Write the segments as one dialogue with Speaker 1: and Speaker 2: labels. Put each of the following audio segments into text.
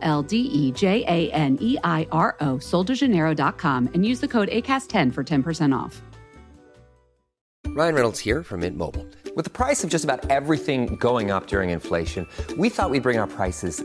Speaker 1: L D E J A N E I R O, soldejaneiro.com, and use the code ACAST10 for 10% off.
Speaker 2: Ryan Reynolds here from Mint Mobile. With the price of just about everything going up during inflation, we thought we'd bring our prices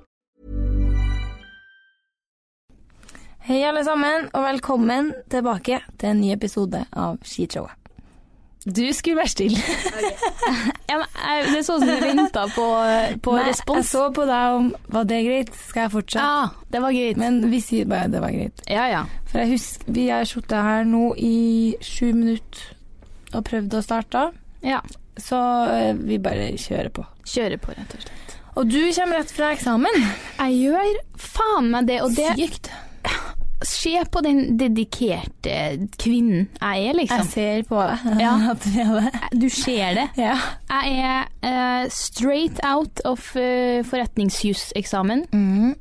Speaker 3: Hei, alle sammen, og velkommen tilbake til en ny episode av Skishowet. Du skulle være stille. eh,
Speaker 4: Ja, men, jeg, det så ut som du venta på, på
Speaker 3: Nei, Jeg
Speaker 4: respons.
Speaker 3: så på deg om Var det greit? Skal jeg fortsette?
Speaker 4: Ja, det var greit.
Speaker 3: Men vi sier bare det var greit.
Speaker 4: ja, ja.
Speaker 3: For jeg husker Vi har sittet her nå i sju minutter og prøvd å starte,
Speaker 4: ja.
Speaker 3: så eh, vi bare kjører på.
Speaker 4: Kjøre på, rett og slett.
Speaker 3: Og du kommer rett fra eksamen.
Speaker 4: Jeg gjør faen meg det, og det
Speaker 3: Sykt.
Speaker 4: Se på den dedikerte kvinnen jeg er,
Speaker 3: Jeg
Speaker 4: liksom.
Speaker 3: ser på deg
Speaker 4: Ja. Eh,
Speaker 3: at du er det.
Speaker 4: Du ser det.
Speaker 3: Ja.
Speaker 4: Jeg er eh, straight out of uh, forretningsjuseksamen.
Speaker 3: Mm.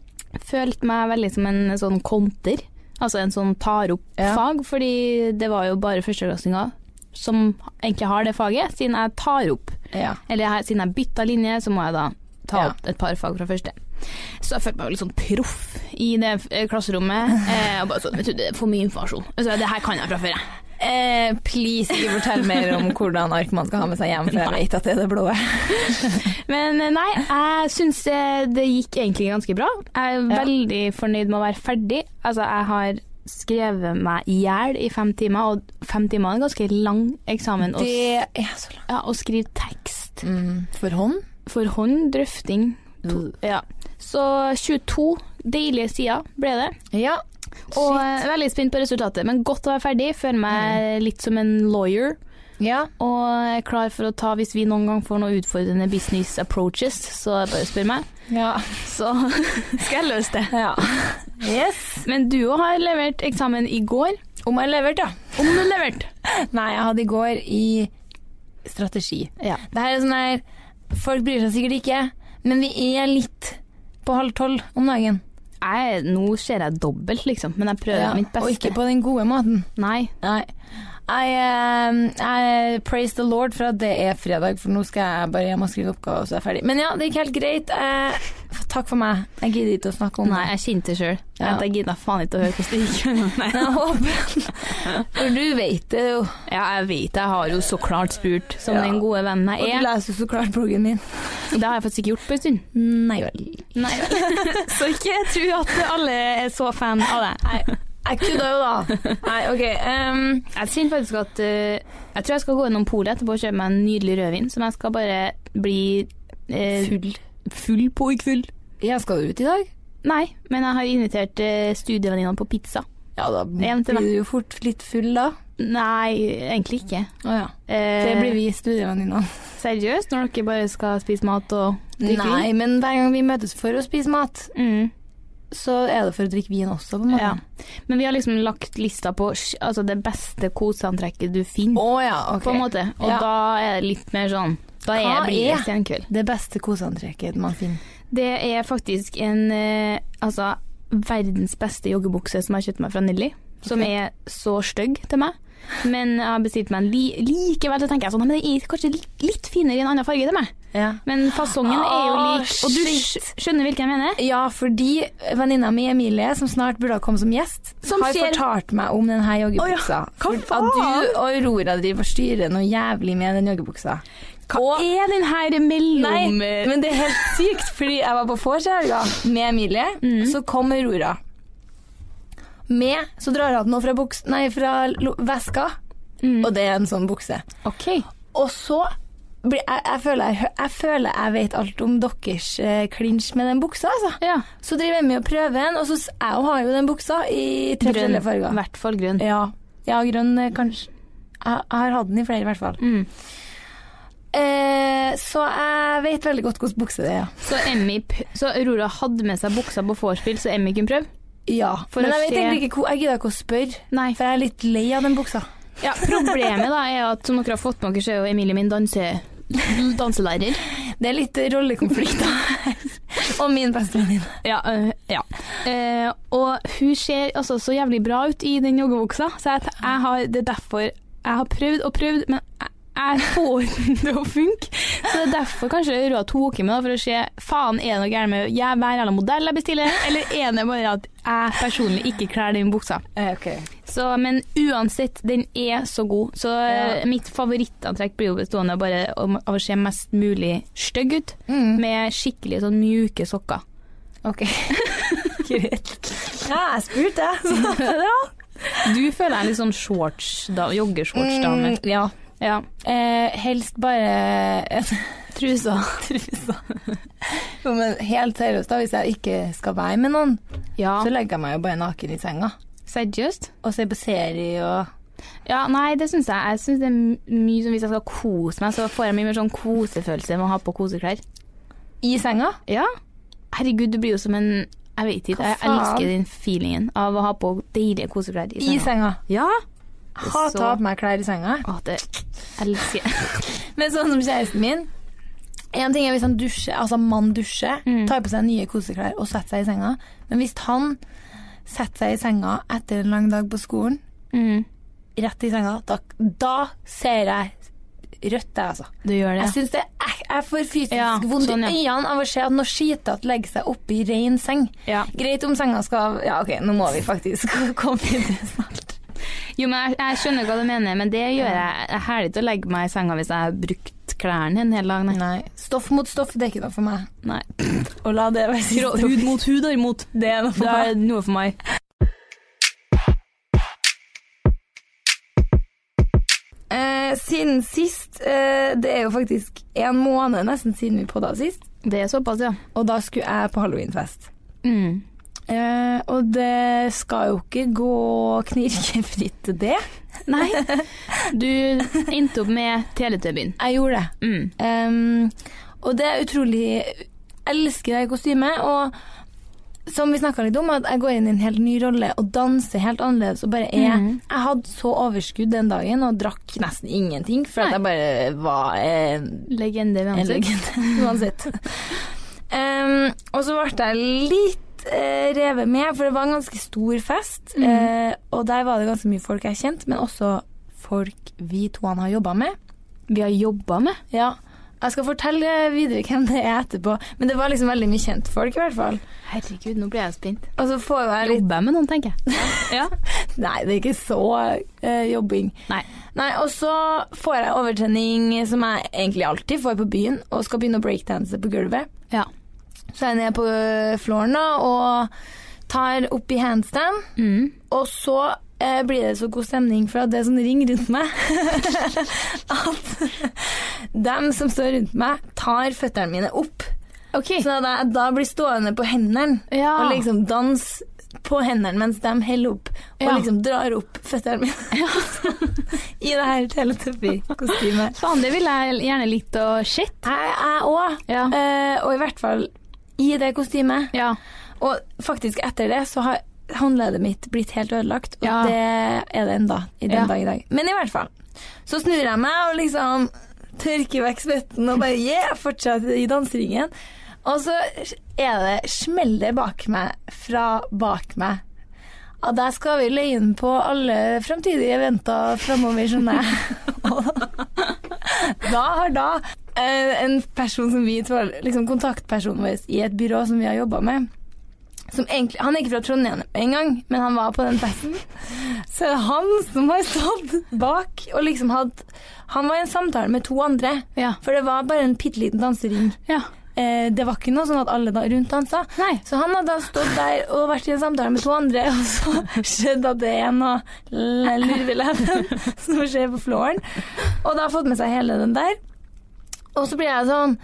Speaker 4: Følte meg veldig som en sånn konter, altså en sånn tar opp
Speaker 3: Ja.
Speaker 4: fag, fordi det var jo bare førsteklassinger som egentlig har det faget, siden jeg tar opp.
Speaker 3: ja.
Speaker 4: Eller jeg, siden jeg bytta linje, så må jeg da ta
Speaker 3: Ja.
Speaker 4: opp et par fag fra første. Så jeg følte meg jo litt sånn proff i det eh, klasserommet. Eh, og bare sånn, vet du, det er for mye informasjon. Så det her kan jeg fra før, jeg.
Speaker 3: Eh, please, ikke fortell mer om hvordan ark man skal ha med seg hjem, for jeg vet at det er det blå.
Speaker 4: Men eh, nei, jeg syns eh, det gikk egentlig ganske bra. Jeg er
Speaker 3: Ja.
Speaker 4: veldig fornøyd med å være ferdig. Altså, jeg har skrevet meg i hjel i fem timer, og fem timer er en ganske lang eksamen. Å s-
Speaker 3: Det er så langt.
Speaker 4: ja, å skrive tekst
Speaker 3: For hånd?
Speaker 4: for hånd, drøfting. To,
Speaker 3: Mm.
Speaker 4: ja. Så 22 deilige sider ble det.
Speaker 3: Ja.
Speaker 4: Og eh, veldig spent på resultatet, men godt å være ferdig. Føler
Speaker 3: Mm.
Speaker 4: meg litt som en lawyer.
Speaker 3: Ja.
Speaker 4: Og er klar for å ta, hvis vi noen gang får noen utfordrende business approaches, så bare spør meg.
Speaker 3: ja.
Speaker 4: Så skal jeg løse det.
Speaker 3: ja. Yes.
Speaker 4: Men du òg har levert eksamen i går.
Speaker 3: Om jeg leverte, ja.
Speaker 4: Om du leverte.
Speaker 3: Nei, jeg hadde i går i strategi.
Speaker 4: Ja.
Speaker 3: Det her er sånn her Folk bryr seg sikkert ikke, men vi er litt på halv tolv om dagen.
Speaker 4: Jeg, nå ser jeg dobbelt, liksom, men jeg prøver
Speaker 3: Ja,
Speaker 4: mitt beste.
Speaker 3: Og ikke på den gode måten.
Speaker 4: Nei.
Speaker 3: Nei. Jeg, eh, jeg praise the lord for at det er fredag, for nå skal jeg bare hjem og skrive oppgaver, og så er jeg ferdig. Men ja, det gikk helt greit. Eh, f- takk for meg. Jeg gidder ikke å snakke om
Speaker 4: Nei, jeg kjente det sjøl.
Speaker 3: Ja.
Speaker 4: Jeg gidda faen ikke å høre hvordan det gikk. Nei.
Speaker 3: det. Jeg håper For du vet det jo.
Speaker 4: Ja, jeg vet jeg har jo så klart spurt, som
Speaker 3: Ja.
Speaker 4: den gode vennen
Speaker 3: Og
Speaker 4: jeg
Speaker 3: du
Speaker 4: er.
Speaker 3: leser jo så klart bloggen min.
Speaker 4: Det har jeg faktisk ikke gjort på en stund.
Speaker 3: Nei vel.
Speaker 4: Nei Så ikke tro at alle er så fan av deg.
Speaker 3: Jeg kødda jo, da. Nei, OK. ehm,
Speaker 4: Jeg kjenner faktisk at eh, Jeg tror jeg skal gå innom polet etterpå og kjøpe meg en nydelig rødvin, som jeg skal bare bli eh,
Speaker 3: full.
Speaker 4: full på i kveld.
Speaker 3: Jeg skal ut i dag.
Speaker 4: Nei, men jeg har invitert eh, studievenninna på pizza.
Speaker 3: Ja, da
Speaker 4: Hjem
Speaker 3: blir
Speaker 4: til meg.
Speaker 3: du jo fort litt full, da.
Speaker 4: Nei, egentlig ikke.
Speaker 3: Å ja.
Speaker 4: Eh,
Speaker 3: Det blir vi studievenninner.
Speaker 4: Seriøst, når dere bare skal spise mat og drikke
Speaker 3: Nei, men hver gang vi møtes for å spise mat,
Speaker 4: vin? Mm.
Speaker 3: så er det for å drikke vin også, på en måte.
Speaker 4: Ja. Men vi har liksom lagt lista på sj- altså det beste koseantrekket du finner,
Speaker 3: Å ja, ok.
Speaker 4: på en måte. Og
Speaker 3: Ja.
Speaker 4: da er det litt mer sånn Da er,
Speaker 3: Hva
Speaker 4: blir det
Speaker 3: er-
Speaker 4: senkveld.
Speaker 3: Det beste koseantrekket man finner.
Speaker 4: Det er faktisk en eh, altså verdens beste joggebukse som jeg har kjøpt meg fra Nelly. Som er så stygg til meg. Men jeg har bestilt meg en li likevel. Så tenker jeg sånn, men det er kanskje litt- litt finere i en annen farge til meg.
Speaker 3: Ja.
Speaker 4: Men fasongen er jo
Speaker 3: Ah,
Speaker 4: lik. Og du
Speaker 3: shit.
Speaker 4: skj- skjønner hvilken jeg mener?
Speaker 3: fordi venninna mi Emilie, som snart burde ha kommet som gjest,
Speaker 4: Som
Speaker 3: har
Speaker 4: ser-
Speaker 3: fortalt meg om denne joggebuksa.
Speaker 4: Hva
Speaker 3: For at du og Aurora driver og styrer noe jævlig med den joggebuksa. Og-
Speaker 4: Er eh? den her mellom
Speaker 3: Nei, men det er helt sykt, fordi jeg var på vors i helga med Emilie,
Speaker 4: Mm.
Speaker 3: så kom Aurora. Med så drar hun den nå fra, buks, nei, fra lo- veska
Speaker 4: Mm.
Speaker 3: og det er en sånn bukse.
Speaker 4: OK.
Speaker 3: Og så blir jeg, jeg, føler, jeg, hø- jeg føler jeg vet alt om deres eh, klinsj med den buksa, altså.
Speaker 4: Ja.
Speaker 3: Så driver jeg med å prøve den, og så s- jeg har jo den buksa i tre
Speaker 4: Grønn.
Speaker 3: forskjellige
Speaker 4: I
Speaker 3: farger.
Speaker 4: hvert fall grønn.
Speaker 3: Ja. ja, grønn eh, kanskje. Jeg jeg har hatt den i flere, i hvert fall.
Speaker 4: Mm.
Speaker 3: Eh, så jeg vet veldig godt hvordan bukse det er.
Speaker 4: Så, Emmy, p- så Aurora hadde med seg buksa på vorspiel, så Emmy kunne prøve?
Speaker 3: Ja,
Speaker 4: For
Speaker 3: Men
Speaker 4: å
Speaker 3: jeg vet
Speaker 4: se-
Speaker 3: egentlig ikke hvor Jeg gidder ikke å spørre,
Speaker 4: Nei.
Speaker 3: for jeg er litt lei av den buksa.
Speaker 4: Ja, problemet da er at som dere har fått med dere, så er jo Emilie min danse, danselærer.
Speaker 3: Det er litt eh, rollekonflikter her. og min bestevenninne.
Speaker 4: Ja, øh, ja. Eh, og hun ser altså så jævlig bra ut i den joggebuksa, så jeg, t- jeg har, det er derfor jeg har prøvd og prøvd, men jeg, jeg får den til å funke. Så det er derfor kanskje Aurora tok i meg da, for å se faen, er det noe gærent med jeg, hver jævla modell jeg bestiller, eller er det bare at jeg personlig ikke kler den buksa. Så, men uansett, den er så god. Så eh, mitt favorittantrekk blir jo bestående av bare om- av å se mest mulig stygg ut,
Speaker 3: Mm.
Speaker 4: med skikkelig sånn mjuke sokker.
Speaker 3: Ok. Greit. Ja, jeg spurte, jeg. så-
Speaker 4: Du føler deg litt sånn shorts, da, joggershortsdame.
Speaker 3: Mm, ja.
Speaker 4: Ja.
Speaker 3: Eh, helst bare
Speaker 4: Trusa.
Speaker 3: Jo, men helt seriøst, da, hvis jeg ikke skal være med noen,
Speaker 4: Ja.
Speaker 3: så legger jeg meg jo bare naken i senga.
Speaker 4: Seriøst?
Speaker 3: Og ser på serie og
Speaker 4: Ja, nei, det syns jeg. Jeg syns det er m- mye som hvis jeg skal kose meg, så får jeg mye mer sånn kosefølelse med å ha på koseklær.
Speaker 3: I senga?
Speaker 4: Ja. Herregud, du blir jo som en Jeg vet ikke,
Speaker 3: Hva
Speaker 4: jeg
Speaker 3: faen?
Speaker 4: elsker den feelingen av å ha på deilige koseklær i
Speaker 3: I
Speaker 4: senga.
Speaker 3: senga.
Speaker 4: Ja.
Speaker 3: Hater å ha på meg klær i senga.
Speaker 4: Å, det elsker jeg.
Speaker 3: Men sånn som kjæresten min En ting er hvis han dusjer, altså mann dusjer,
Speaker 4: Mm.
Speaker 3: tar på seg nye koseklær og setter seg i senga. Men hvis han setter seg i senga etter en lang dag på skolen,
Speaker 4: Mm.
Speaker 3: rett i senga, da, da ser jeg rødt, jeg, altså.
Speaker 4: Du gjør det.
Speaker 3: Jeg syns det er, jeg får fysisk
Speaker 4: Ja,
Speaker 3: vondt
Speaker 4: sånn, ja.
Speaker 3: i øynene av å se at noe skitete legger seg oppi ren seng.
Speaker 4: Ja.
Speaker 3: Greit om senga skal Ja, OK, nå må vi faktisk komme videre snart.
Speaker 4: Jo, men jeg, jeg skjønner hva du mener, men det gjør jeg. Jeg hæler ikke å legge meg i senga hvis jeg har brukt klærne en hel dag. Nei.
Speaker 3: Nei. Stoff mot stoff, det er ikke noe for meg.
Speaker 4: nei.
Speaker 3: Og la det være siste ord.
Speaker 4: Hud mot hud, derimot.
Speaker 3: Det er noe for
Speaker 4: Det
Speaker 3: meg.
Speaker 4: er noe for meg.
Speaker 3: Eh, siden sist eh, Det er jo faktisk en måned nesten siden vi podda sist.
Speaker 4: Det er såpass, ja.
Speaker 3: Og da skulle jeg på halloweenfest.
Speaker 4: Mm.
Speaker 3: Eh, og det skal jo ikke gå knirkefritt, det.
Speaker 4: Nei. Du endte opp med Teletubbyen.
Speaker 3: Jeg gjorde det.
Speaker 4: Mm.
Speaker 3: Ehm, og det er utrolig Jeg elsker det kostymet. Og som vi snakka litt om, at jeg går inn i en helt ny rolle og danser helt annerledes. Og bare er
Speaker 4: Mhm.
Speaker 3: Jeg hadde så overskudd den dagen og drakk nesten ingenting, for at jeg bare var eh,
Speaker 4: Legende ved
Speaker 3: En
Speaker 4: ansikt.
Speaker 3: legende, uansett. Em, og så ble jeg litt eh, revet med, for det var en ganske stor fest. eh, og der var det ganske mye folk jeg kjente, men også folk vi to han har jobba med.
Speaker 4: Vi har jobba med.
Speaker 3: Ja, jeg skal fortelle videre hvem det er etterpå, men det var liksom veldig mye kjentfolk i hvert fall.
Speaker 4: Herregud, nå ble jeg spent.
Speaker 3: Og så får jeg litt
Speaker 4: Jobber jeg med noen, tenker jeg. Ja.
Speaker 3: Nei, det er ikke så eh, jobbing.
Speaker 4: Nei.
Speaker 3: Nei, og så får jeg overtenning som jeg egentlig alltid får på byen, og skal begynne å breakdanse på gulvet.
Speaker 4: Ja.
Speaker 3: Så er jeg nede på øh, flooren da, og tar opp i handstand.
Speaker 4: Mm.
Speaker 3: Og så eh, blir det så god stemning for at det er sånn ring rundt meg at dem som står rundt meg, tar føttene mine opp.
Speaker 4: OK.
Speaker 3: Så da, da blir stående på hendene
Speaker 4: ja.
Speaker 3: og liksom danse på hendene mens de heller opp og
Speaker 4: Ja.
Speaker 3: liksom drar opp føttene mine. I det her Teletubby-kostymet.
Speaker 4: Faen, det ville jeg gjerne likt å sett.
Speaker 3: Jeg jeg òg.
Speaker 4: Ja.
Speaker 3: Eh, og i hvert fall i det kostymet.
Speaker 4: Ja.
Speaker 3: Og faktisk etter det så har håndleddet mitt blitt helt ødelagt, og
Speaker 4: Ja.
Speaker 3: det eh, er det enda i den
Speaker 4: Ja.
Speaker 3: dag i dag. Men i hvert fall. Så snur jeg meg og liksom tørker vekk svetten og bare yeah, fortsetter i danseringen. Og så er det smeller bak meg fra bak meg. Ja, der skal vi leie inn på alle framtidige eventer framover, skjønner jeg. da har da eh, en person som vi tror, liksom kontaktpersonen vår i et byrå som vi har jobba med som egentlig, Han er ikke fra Trondheim engang, men han var på den festen. Så er det han som har stått bak og liksom hatt Han var i en samtale med to andre,
Speaker 4: Ja.
Speaker 3: for det var bare en bitte liten dansering
Speaker 4: Ja.
Speaker 3: eh, eh, det var ikke noe sånn at alle da, rundt han sa.
Speaker 4: Nei.
Speaker 3: Så han hadde da stått der og vært i en samtale med to andre, og så skjedde at det er noe l- lurvelappen som skjer på floren. Og da har fått med seg hele den der. Og så blir jeg sånn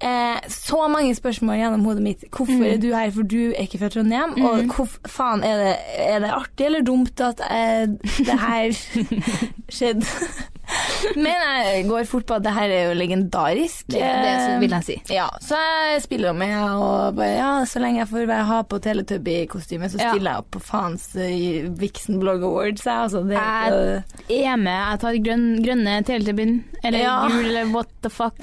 Speaker 3: eh, Så mange spørsmål gjennom hodet mitt. Hvorfor
Speaker 4: Mm.
Speaker 3: er du her, for du er ikke fra Trondheim? Og hvor faen er det, er det artig eller dumt at eh, det her skjedde? Men jeg går fort på at det her er jo legendarisk.
Speaker 4: Det, det
Speaker 3: Eh,
Speaker 4: vil jeg si.
Speaker 3: ja, så jeg spiller jo med, og bare, ja, så lenge jeg får være, ha på Teletubby-kostyme, så
Speaker 4: Ja.
Speaker 3: stiller jeg opp på faens eh, Vixen Blog Awards. Jeg, altså, det, er ikke-
Speaker 4: Jeg er med. Jeg tar grønn, grønne teletubbyen, eller
Speaker 3: Ja.
Speaker 4: gul, eller what the fuck.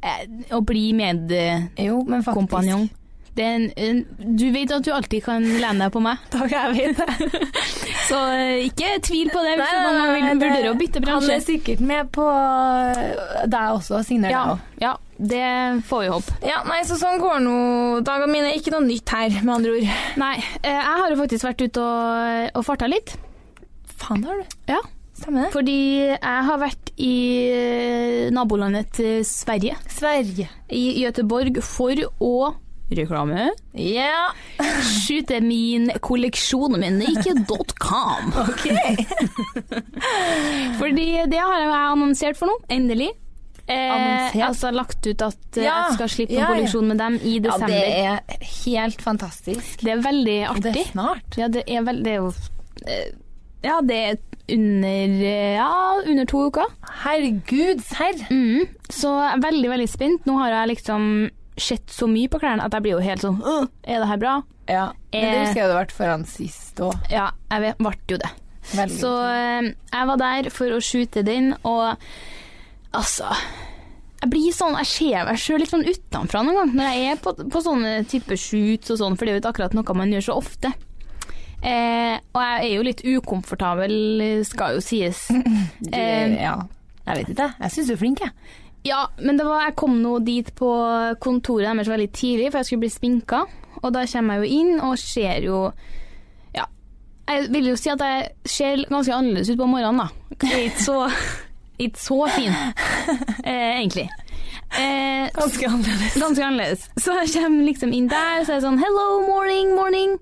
Speaker 4: Eh, Å bli medkompanjong.
Speaker 3: jo, men faktisk.
Speaker 4: Det er en, en, du vet at du alltid kan lene deg på meg,
Speaker 3: Takk, jeg vet det.
Speaker 4: så eh, ikke tvil på det hvis
Speaker 3: Nei,
Speaker 4: du noen gang
Speaker 3: nei,
Speaker 4: vil-
Speaker 3: det-
Speaker 4: vurderer å bytte
Speaker 3: Han
Speaker 4: bransje.
Speaker 3: er sikkert med på eh, deg også, signer
Speaker 4: Ja,
Speaker 3: deg også.
Speaker 4: ja, det får vi håpe.
Speaker 3: Ja, nei, så sånn går nå dagene mine. Ikke noe nytt her, med andre ord.
Speaker 4: Nei, eh, jeg har jo faktisk vært ute og, og farta litt.
Speaker 3: Faen, har du.
Speaker 4: Ja.
Speaker 3: Stemmer det.
Speaker 4: Fordi jeg har vært i eh, nabolandet til Sverige,
Speaker 3: Sverige.
Speaker 4: i Göteborg, for å reklame.
Speaker 3: Ja,
Speaker 4: Skyte min kolleksjon med Nike.com.
Speaker 3: OK.
Speaker 4: Fordi det har jeg annonsert for nå, endelig. Eh,
Speaker 3: Annonsert?
Speaker 4: altså lagt ut at eh,
Speaker 3: Ja,
Speaker 4: jeg skal slippe
Speaker 3: ja, ja.
Speaker 4: en kolleksjon med dem i
Speaker 3: ja,
Speaker 4: desember.
Speaker 3: det
Speaker 4: det,
Speaker 3: er helt fantastisk.
Speaker 4: er... veldig
Speaker 3: Og det
Speaker 4: artig.
Speaker 3: er snart.
Speaker 4: Ja, det er veldig det er jo, eh, Ja, det er under, eh, ja, under to uker.
Speaker 3: Herregud, serr.
Speaker 4: Mm. Så jeg er veldig, veldig spent. Nå har jeg liksom sett så mye på klærne at jeg blir jo helt sånn «Åh, Er det her bra?
Speaker 3: Ja, men
Speaker 4: Eh.
Speaker 3: det husker jeg du vært foran sist òg.
Speaker 4: Ja, jeg vet- ble jo det.
Speaker 3: Veldig.
Speaker 4: Så eh, jeg var der for å shoote den, og altså jeg blir sånn, jeg ser meg sjøl litt sånn utenfra noen gang når jeg er på, på sånne type shoots og sånn, for det er jo ikke akkurat noe man gjør så ofte. Eh, og jeg er jo litt ukomfortabel, skal jo sies.
Speaker 3: Du,
Speaker 4: eh,
Speaker 3: ja. Jeg vet ikke, jeg syns du er flink, jeg.
Speaker 4: Ja, men det var, jeg kom nå dit på kontoret deres veldig tidlig, for jeg skulle bli sminka. Og da kommer jeg jo inn og ser jo Ja, jeg vil jo si at jeg ser ganske annerledes ut på morgenen, da. Jeg er ikke så, ikke så fin, eh, egentlig. Eh,
Speaker 3: Ganske annerledes.
Speaker 4: ganske annerledes. Så jeg kommer liksom inn der, så er det sånn Hello, morning, morning.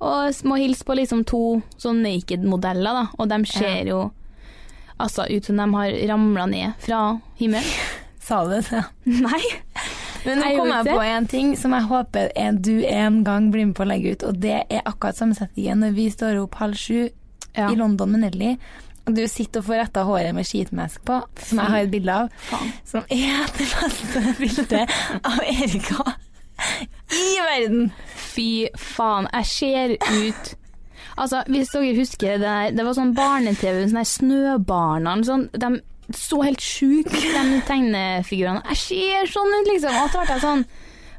Speaker 4: Og må hilse på liksom to sånn naked-modeller, da. Og de ser jo altså ut som de har ramla ned fra himmelen.
Speaker 3: Sa du det?
Speaker 4: Nei.
Speaker 3: Men nå
Speaker 4: Jeg
Speaker 3: kom
Speaker 4: gjorde
Speaker 3: jeg
Speaker 4: det.
Speaker 3: på en ting som jeg håper en, du en gang blir med på å legge ut, og det er akkurat samme setningen når vi står opp halv sju
Speaker 4: Ja.
Speaker 3: i London med Nelly. og Du sitter og får retta håret med skitmask på, som jeg har et bilde av. Som er det beste bildet av Erika i verden!
Speaker 4: Fy faen, jeg ser ut Altså, hvis dere husker det der Det var sånn barne-TV, sånn der Snøbarnene sånn, De så helt sjuke ut, de tegnefigurene. Jeg ser sånn ut, liksom. Og så ble jeg sånn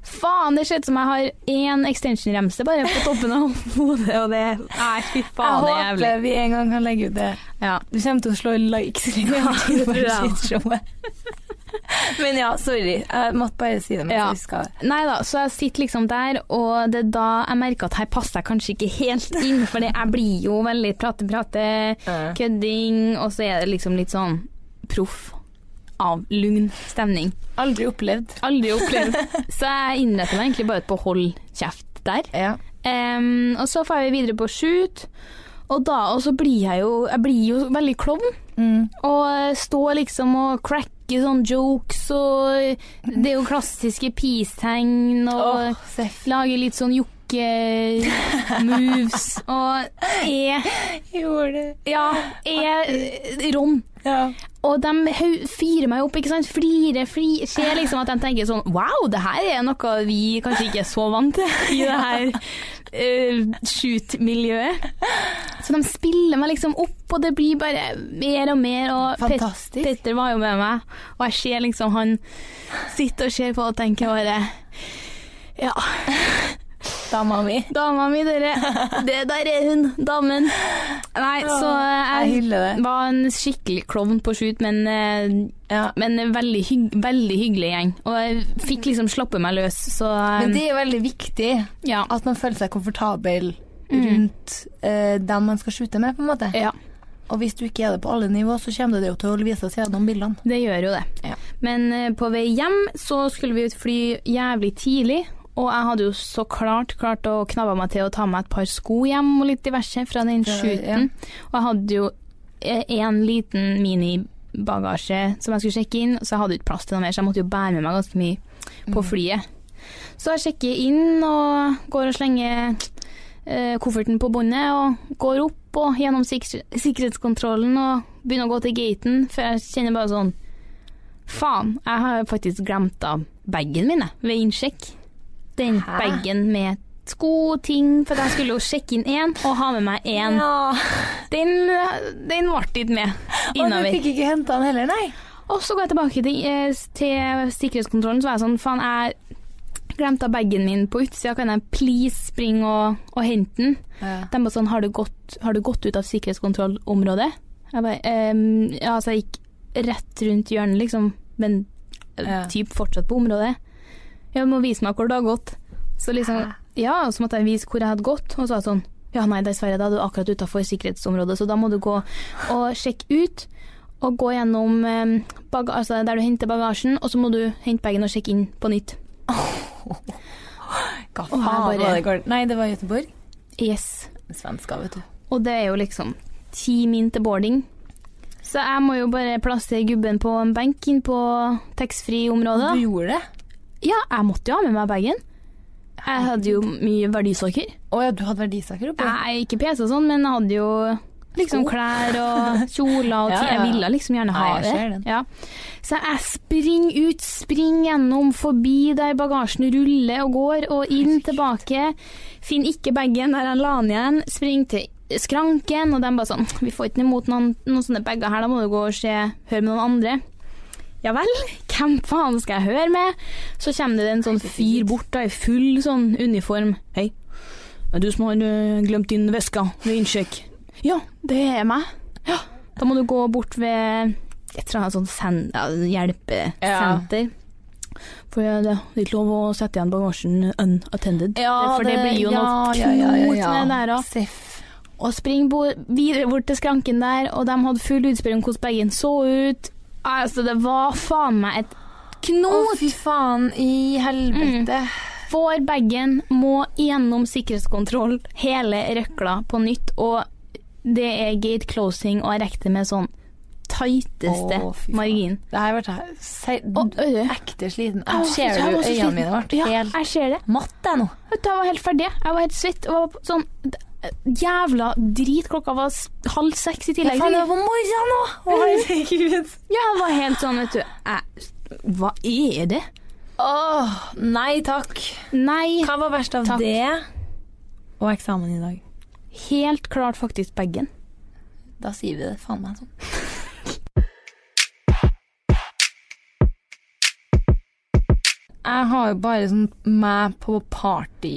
Speaker 4: Faen, det ser ut som jeg har én extension-remse bare på toppen av hodet, og det Nei, fy faen, det er
Speaker 3: jeg
Speaker 4: jævlig.
Speaker 3: håper vi en gang kan legge ut det.
Speaker 4: Ja.
Speaker 3: Du kommer til å slå likes i
Speaker 4: det tror
Speaker 3: rekord
Speaker 4: jeg.
Speaker 3: Men ja, sorry. Jeg måtte bare si det. Men
Speaker 4: Ja.
Speaker 3: jeg husker det.
Speaker 4: Nei da, så jeg sitter liksom der, og det er da jeg merker at her passer jeg kanskje ikke helt inn, for jeg blir jo veldig prate-prate,
Speaker 3: Ja.
Speaker 4: kødding, og så er det liksom litt sånn proff av lugn stemning.
Speaker 3: Aldri opplevd.
Speaker 4: Aldri opplevd. Så jeg innretter meg egentlig bare på hold kjeft der.
Speaker 3: Ja.
Speaker 4: Em, og så får jeg videre på shoot, og da og så blir jeg jo, jeg blir jo veldig klovn. Og står liksom og cracker sånne jokes, og det er jo klassiske peace-tegn, og
Speaker 3: Åh, seff.
Speaker 4: lager litt sånn jokke-moves, og er
Speaker 3: Gjorde det.
Speaker 4: ja, er rom.
Speaker 3: Ja.
Speaker 4: Og de hau- fyrer meg opp, ikke sant. Flirer, flirer. Ser liksom at de tenker sånn Wow, det her er noe vi kanskje ikke er så vant til i det her eh, shoot-miljøet. Så de spiller meg liksom opp, og det blir bare mer og mer. Og Pet-
Speaker 3: Fantastisk.
Speaker 4: Petter var jo med meg, og jeg ser liksom han sitter og ser på og tenker bare Ja,
Speaker 3: Dama mi.
Speaker 4: dama mi, dere. Det der er hun, damen. Nei, så eh,
Speaker 3: Jeg
Speaker 4: jeg
Speaker 3: hyller det.
Speaker 4: var en skikkelig klovn på shoot, men eh,
Speaker 3: Ja. Mm.
Speaker 4: men en veldig, hygg, veldig hyggelig gjeng. Og jeg fikk liksom slappe meg løs, så eh,
Speaker 3: Men det er veldig viktig
Speaker 4: ja.
Speaker 3: at man føler seg komfortabel rundt eh, dem man skal skjute med, på en måte.
Speaker 4: Mm. ja.
Speaker 3: Og hvis du ikke er det på alle nivå, så kommer det jo til å vise seg gjennom bildene.
Speaker 4: Det gjør jo det.
Speaker 3: Ja.
Speaker 4: Men eh, på vei hjem så skulle vi ut fly jævlig tidlig, og jeg hadde jo så klart klart å knabbe meg til å ta med et par sko hjem og litt diverse fra den
Speaker 3: Fra-
Speaker 4: shooten. Og jeg hadde jo eh, en liten minibagasje som jeg skulle sjekke inn, så jeg hadde jo ikke plass til noe mer, så jeg måtte jo bære med meg ganske mye
Speaker 3: Mm.
Speaker 4: på flyet. Så jeg sjekker inn og går og slenger eh, kofferten på båndet og går opp og gjennom sikre- sikkerhetskontrollen og begynner å gå til gaten, for jeg kjenner bare sånn Faen, jeg har faktisk glemt av bagen min jeg, ved innsjekk. Den
Speaker 3: Hæ?
Speaker 4: bagen med sko, ting, for jeg skulle jo sjekke inn én og ha med meg én.
Speaker 3: Ja.
Speaker 4: Den, den ble ikke med
Speaker 3: Og du
Speaker 4: innover.
Speaker 3: fikk ikke henta den heller, nei?
Speaker 4: Og så går jeg tilbake til, eh, til sikkerhetskontrollen, så var jeg sånn, faen, jeg glemte bagen min på utsida, kan jeg please springe og, og hente den? De bare sånn, har du gått, har du gått ut av sikkerhetskontrollområdet? Jeg bare, ehm, ja, så jeg gikk rett rundt hjørnet, liksom, men eh,
Speaker 3: Ja.
Speaker 4: typ fortsatt på området. Ja, du må vise meg hvor du har gått. Så liksom, ja, og så måtte jeg vise hvor jeg hadde gått, og så var jeg sånn, ja, nei, dessverre, da er du akkurat utenfor sikkerhetsområdet, så da må du gå og sjekke ut, og gå gjennom eh, baga altså der du henter bagasjen, og så må du hente bagen og sjekke inn på nytt.
Speaker 3: Hva
Speaker 4: Og her bare-
Speaker 3: var det går- Nei, det var Göteborg.
Speaker 4: Yes.
Speaker 3: Svenska, vet du.
Speaker 4: Og det er jo liksom ti min til boarding. Så jeg må jo bare plassere gubben på en benk inn på taxfree-området.
Speaker 3: Du gjorde det?
Speaker 4: Ja, jeg måtte jo ha med meg bagen. Jeg hadde jo mye verdisaker.
Speaker 3: Å ja, du hadde verdisaker oppi?
Speaker 4: Nei, ikke PC og sånn, men jeg hadde jo liksom
Speaker 3: Sko.
Speaker 4: klær og kjoler og
Speaker 3: Ja,
Speaker 4: ting.
Speaker 3: ja.
Speaker 4: Jeg ville liksom gjerne ha
Speaker 3: Ja, jeg
Speaker 4: det.
Speaker 3: ser den.
Speaker 4: Ja. Så jeg springer ut, springer gjennom, forbi der bagasjen ruller og går, og inn tilbake. Finner ikke bagen der jeg la den igjen. Springer til skranken, og de bare sånn Vi får ikke imot noen, noen sånne bager her, da må du gå og se, høre med noen andre. Ja vel, hvem faen skal jeg høre med? Så kommer det en sånn fyr bort da, i full sånn uniform. Hei, det er du som har ø, glemt din veske ved innsjekk. Ja, det er meg. Ja. Da må du gå bort ved et eller annet sånt sen- ja, hjelpesenter. For ja, det er ikke lov å sette igjen bagasjen unattended. for det, blir jo noe knot med det der òg.
Speaker 3: Seff.
Speaker 4: Og spring bo- videre bort til skranken der, og de hadde full utspørring om hvordan bagen så ut. Altså, det var faen meg et
Speaker 3: Å,
Speaker 4: knot! Mm.
Speaker 3: fy faen i helvete.
Speaker 4: Får bagen, må gjennom sikkerhetskontroll hele røkla på nytt, og det er gate closing, og jeg rekker det med sånn tighteste
Speaker 3: Å, fy faen.
Speaker 4: margin.
Speaker 3: Det her ble jeg ser-
Speaker 4: Og øret.
Speaker 3: ekte sliten.
Speaker 4: Å,
Speaker 3: Jeg ser
Speaker 4: jeg
Speaker 3: du
Speaker 4: var så
Speaker 3: øynene mine
Speaker 4: sliten.
Speaker 3: ble
Speaker 4: Ja,
Speaker 3: helt
Speaker 4: jeg ser det.
Speaker 3: matt, jeg nå.
Speaker 4: Vet du, Jeg var helt ferdig. Jeg var helt svett. Og var sånn jævla drit. Klokka var s- halv seks i
Speaker 3: Jeg
Speaker 4: tillegg.
Speaker 3: faen, det var på morgenen nå! Å, herregud.
Speaker 4: Ja, jeg var helt sånn, vet du. Jeg, hva er det?
Speaker 3: Åh, nei takk.
Speaker 4: Nei,
Speaker 3: Hva var verst av
Speaker 4: Takk.
Speaker 3: det? Og eksamen i dag.
Speaker 4: helt klart faktisk bagen.
Speaker 3: Da sier vi det faen meg sånn. Jeg har jo bare sånn meg på party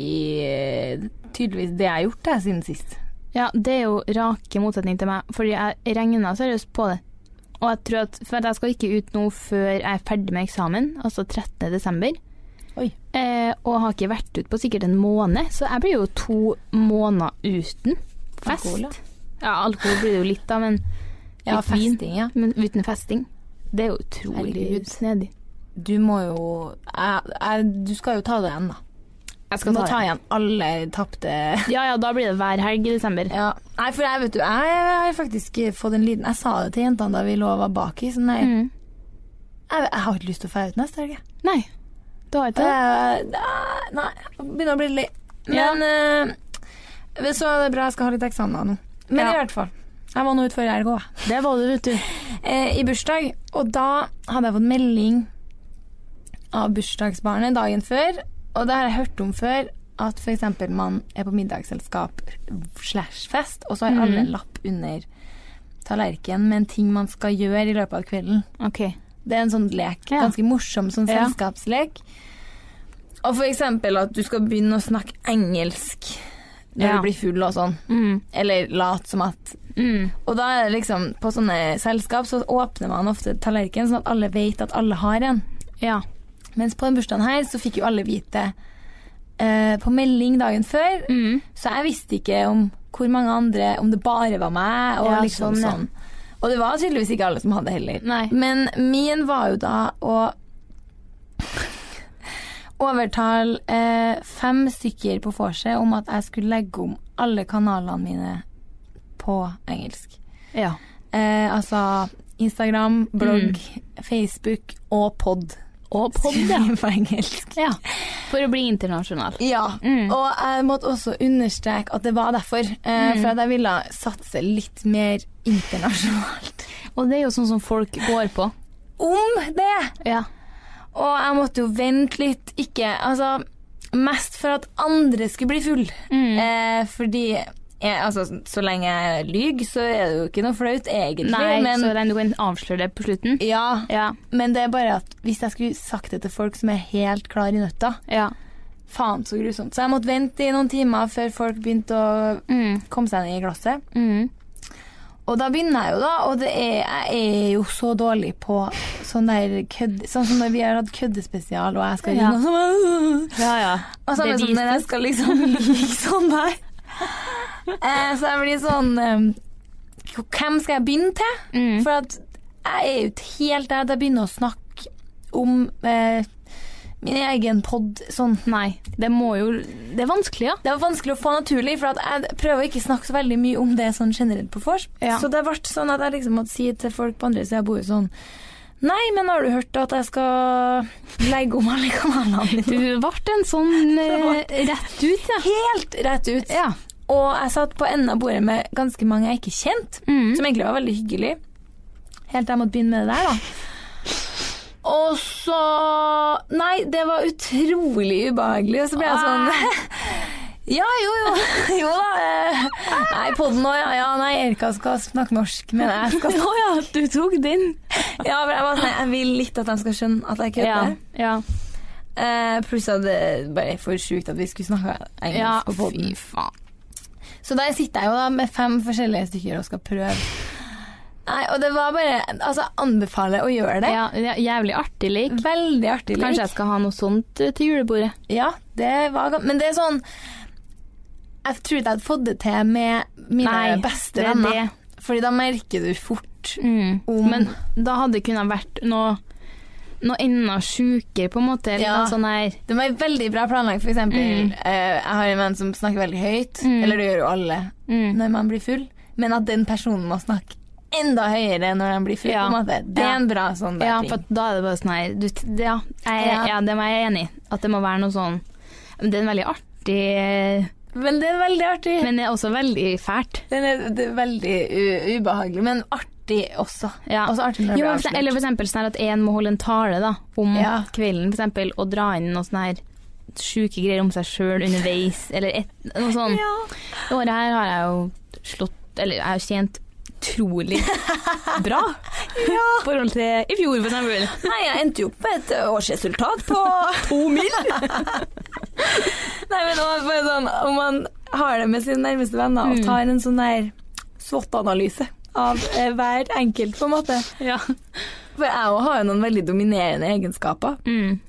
Speaker 3: Tydeligvis det jeg har gjort det siden sist.
Speaker 4: Ja, det er jo rake motsetning til meg, fordi jeg regna seriøst på det. Og jeg tror at For at jeg skal ikke ut nå før jeg er ferdig med eksamen, altså 13. desember.
Speaker 3: Oi.
Speaker 4: Eh, og har ikke vært ute på sikkert en måned, så jeg blir jo to måneder uten fest.
Speaker 3: Alkohol, ja.
Speaker 4: ja, alkohol blir det jo litt, da, men,
Speaker 3: Ja,
Speaker 4: Litt vin.
Speaker 3: festing, ja.
Speaker 4: men uten festing. Det er jo utrolig
Speaker 3: Herregud.
Speaker 4: snedig.
Speaker 3: Du må jo jeg, jeg, Du skal jo ta det igjen, da.
Speaker 4: Jeg
Speaker 3: Du
Speaker 4: skal
Speaker 3: må
Speaker 4: ta
Speaker 3: ta
Speaker 4: det.
Speaker 3: igjen alle tapte
Speaker 4: Ja ja, da blir det hver helg i desember.
Speaker 3: ja. Nei, for jeg vet du, jeg har faktisk fått en liten Jeg sa det til jentene da vi lå og var baki, sånn jeg,
Speaker 4: Mm.
Speaker 3: jeg, jeg har ikke lyst til å dra ut neste helg. jeg.
Speaker 4: Nei, du har ikke det?
Speaker 3: Eh, Nei, jeg begynner å bli litt Men eh, så er det bra jeg skal ha litt eksamener nå. Men
Speaker 4: Ja.
Speaker 3: i hvert fall. Jeg var nå ute før i helga, jeg.
Speaker 4: Det var du, vet du.
Speaker 3: Eh, I bursdag. Og da hadde jeg fått melding av bursdagsbarnet dagen før. Og det har jeg hørt om før, at f.eks. man er på middagsselskap slash fest, og så har alle en lapp under tallerkenen med en ting man skal gjøre i løpet av kvelden.
Speaker 4: OK.
Speaker 3: Det er en sånn lek.
Speaker 4: Ja.
Speaker 3: Ganske morsom sånn
Speaker 4: Ja.
Speaker 3: selskapslek. Og for eksempel at du skal begynne å snakke engelsk når
Speaker 4: Ja.
Speaker 3: du blir full og sånn.
Speaker 4: Mm.
Speaker 3: Eller late som at
Speaker 4: Mm.
Speaker 3: Og da er det liksom På sånne selskap så åpner man ofte tallerkenen sånn at alle vet at alle har en.
Speaker 4: Ja.
Speaker 3: Mens på den bursdagen her så fikk jo alle vite eh, på melding dagen før,
Speaker 4: Mm.
Speaker 3: så jeg visste ikke om hvor mange andre Om det bare var meg, og
Speaker 4: Ja,
Speaker 3: liksom
Speaker 4: sånn, ja.
Speaker 3: sånn. Og det var tydeligvis ikke alle som hadde heller.
Speaker 5: Nei.
Speaker 3: Men min var jo da å overtale eh, fem stykker på vorset om at jeg skulle legge om alle kanalene mine på engelsk.
Speaker 5: Ja.
Speaker 3: Eh, altså Instagram, blogg, Facebook Mm. og pod.
Speaker 5: Og pod, ja.
Speaker 3: Skrive på engelsk.
Speaker 5: ja. For å bli internasjonal.
Speaker 3: Ja,
Speaker 5: Mm.
Speaker 3: og jeg måtte også understreke at det var derfor. Eh, For at jeg ville satse litt mer internasjonalt.
Speaker 5: Og det er jo sånn som folk går på.
Speaker 3: Om det!
Speaker 5: Ja.
Speaker 3: Og jeg måtte jo vente litt, ikke Altså, mest for at andre skulle bli full. Eh, fordi jeg, altså, så lenge jeg lyver, så er det jo ikke noe flaut, egentlig.
Speaker 5: Nei,
Speaker 3: men,
Speaker 5: så den du kan avsløre det på slutten.
Speaker 3: ja,
Speaker 5: Ja.
Speaker 3: men det er bare at hvis jeg skulle sagt det til folk som er helt klar i nøtta
Speaker 5: Ja.
Speaker 3: Faen, så grusomt. Så jeg måtte vente i noen timer før folk begynte å
Speaker 5: Mm.
Speaker 3: komme seg ned i glasset.
Speaker 5: Mm.
Speaker 3: Og da begynner jeg jo, da. Og det er, jeg er jo så dårlig på sånn der kødd... Sånn som når vi har hatt køddespesial, og jeg skal
Speaker 5: Ja.
Speaker 3: gjøre noe sånn
Speaker 5: Ja, ja.
Speaker 3: Og samme
Speaker 5: Det
Speaker 3: som når jeg
Speaker 5: vises.
Speaker 3: skal liksom ligge sånn der. Eh, så jeg blir sånn eh, Hvem skal jeg begynne til?
Speaker 5: Mm.
Speaker 3: For at jeg er jo ikke helt der at jeg begynner å snakke om eh, min egen pod sånn.
Speaker 5: Nei, det må jo Det er vanskelig, ja.
Speaker 3: Det var vanskelig å få naturlig, for at jeg prøver å ikke snakke så veldig mye om det sånn generelt på vors.
Speaker 5: Ja.
Speaker 3: Så det ble sånn at jeg liksom måtte si til folk på andre sida av bordet sånn Nei, men har du hørt at jeg skal legge om alle kanalene
Speaker 5: Du
Speaker 3: mine?
Speaker 5: ble en sånn eh,
Speaker 3: Det ble-
Speaker 5: rett ut, ja.
Speaker 3: Helt rett ut.
Speaker 5: Ja.
Speaker 3: Og jeg satt på enden av bordet med ganske mange jeg ikke kjente,
Speaker 5: Mm.
Speaker 3: som egentlig var veldig hyggelig. Helt til jeg måtte begynne med det der, da. Og så Nei, det var utrolig ubehagelig. Og så ble jeg
Speaker 5: Ah.
Speaker 3: sånn Ja, jo, jo. Jo da. eh, Nei, podden òg, ja. ja. Nei, Erika skal snakke norsk, men jeg skal
Speaker 5: Å ja, du tok den.
Speaker 3: Ja, men jeg, var sånn, jeg vil litt at de skal skjønne at jeg
Speaker 5: Ja.
Speaker 3: kødder.
Speaker 5: ja.
Speaker 3: Eh, pluss at det bare er for sjukt at vi skulle snakke engelsk
Speaker 5: Ja,
Speaker 3: på podden.
Speaker 5: fy faen.
Speaker 3: Så der sitter jeg jo da med fem forskjellige stykker og skal prøve. Nei, og det var bare Altså, jeg anbefaler å gjøre det.
Speaker 5: Ja, ja, jævlig artig lek.
Speaker 3: Veldig artig lek.
Speaker 5: Kanskje jeg skal ha noe sånt eh, til julebordet.
Speaker 3: Ja, det var gam- Men det er sånn Jeg tror ikke jeg hadde fått det til med mine
Speaker 5: Nei,
Speaker 3: beste
Speaker 5: det er
Speaker 3: venner.
Speaker 5: det.
Speaker 3: Fordi da merker du fort
Speaker 5: Mm.
Speaker 3: om
Speaker 5: Men da hadde det kunnet vært noe noe enda sjukere, på en måte. Eller
Speaker 3: Ja.
Speaker 5: noe sånn her
Speaker 3: Det var veldig bra planlagt, for eksempel.
Speaker 5: Mm.
Speaker 3: eh, jeg har en venn som snakker veldig høyt.
Speaker 5: Mm.
Speaker 3: Eller det gjør jo alle
Speaker 5: mm.
Speaker 3: når man blir full. Men at den personen må snakke enda høyere når den blir full,
Speaker 5: Ja.
Speaker 3: på en måte. Det er
Speaker 5: Ja.
Speaker 3: en bra sånn der
Speaker 5: Ja,
Speaker 3: ting.
Speaker 5: for at da er det bare sånn her du, t- det- ja, jeg,
Speaker 3: Ja.
Speaker 5: ja. det var jeg enig i. At det må være noe sånn Men Det er en veldig artig eh,
Speaker 3: Men det er veldig artig.
Speaker 5: Men det er også veldig fælt.
Speaker 3: Den er, det er veldig u ubehagelig, men artig også.
Speaker 5: Ja.
Speaker 3: Også artig når det
Speaker 5: Jo,
Speaker 3: blir
Speaker 5: for,
Speaker 3: avslørt.
Speaker 5: eller for eksempel sånn her at en må holde en tale da, om
Speaker 3: Ja.
Speaker 5: kvelden, for eksempel, og dra inn noe sånn her sjuke greier om seg sjøl underveis, eller et, noe sånn.
Speaker 3: Ja.
Speaker 5: Det året her har jeg jo slått Eller jeg har tjent utrolig bra i forhold til i fjor, for eksempel.
Speaker 3: Nei, jeg endte jo opp med et eh, årsresultat på To mil! Nei, men det var bare sånn, om man har det med sine nærmeste venner
Speaker 5: Mm.
Speaker 3: og tar en sånn der SWOT-analyse av eh, hver enkelt, på en måte.
Speaker 5: Ja.
Speaker 3: For jeg også har jo noen veldig dominerende egenskaper.
Speaker 5: Mm.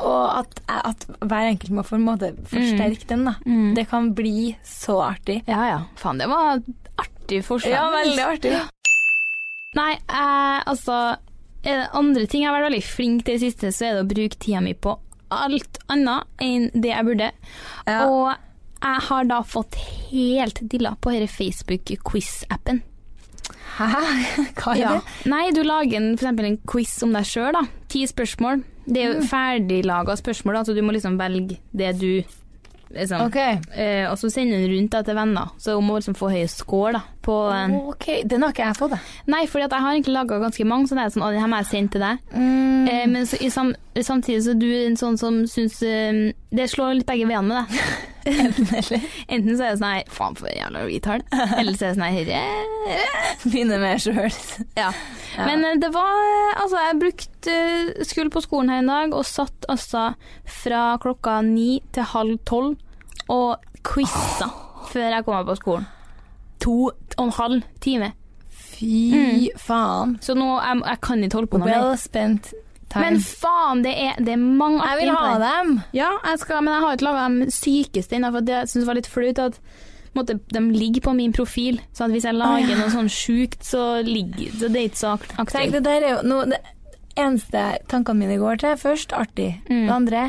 Speaker 3: Og at, at hver enkelt må på en måte forsterke den, da.
Speaker 5: Mm.
Speaker 3: Det kan bli så artig.
Speaker 5: ja ja. Faen, det var artig forslag.
Speaker 3: Ja, veldig artig.
Speaker 5: Nei, eh, altså er det andre ting jeg har vært veldig flink til i det siste, så er det å bruke tida mi på alt annet enn det jeg burde.
Speaker 3: Ja.
Speaker 5: Og jeg har da fått helt dilla på denne Facebook-quiz-appen.
Speaker 3: Hæ? Hva er det?
Speaker 5: Nei, du lager en, for eksempel en quiz om deg sjøl, da. Ti spørsmål. Det er jo ferdiglaga spørsmål, da, så du må liksom velge det du liksom. Eh, og så sender du den rundt da, til venner, så hun må liksom få høy score da, på den.
Speaker 3: Ok, Den har ikke jeg fått, jeg.
Speaker 5: Nei, fordi at jeg har egentlig laga ganske mange sånne. her, Sånn, «Å, den her må jeg sende til deg.
Speaker 3: Mm.
Speaker 5: Eh, men så, i sam, samtidig så er du en sånn som syns eh, Det slår litt begge veiene med deg. Enten så er det sånn her Faen, for en jævla retard. Eller så er det sånn her herre
Speaker 3: Begynner med sjøl.
Speaker 5: ja. Men eh, det var Altså, jeg brukte eh, Skulle på skolen her en dag og satt altså fra klokka ni til halv tolv og quiza før jeg kom meg på skolen. To og en halv time.
Speaker 3: Fy faen.
Speaker 5: Så nå jeg, jeg kan ikke holde på noe mer.
Speaker 3: Well spent time.
Speaker 5: Men faen, det er, det er mange
Speaker 3: jeg vil
Speaker 5: artige
Speaker 3: ha
Speaker 5: innpå der.
Speaker 3: dem!
Speaker 5: Ja, jeg skal, men jeg har ikke laga de sykeste ennå, for det jeg synes var litt flaut at på en måte, De ligger på min profil, så at hvis jeg lager noe sånn sjukt, så ligger så det er ikke så akt-
Speaker 3: Tenk,
Speaker 5: aktuelt.
Speaker 3: det der er jo noe Det eneste tankene mine går til, først artig.
Speaker 5: Mm.
Speaker 3: Det andre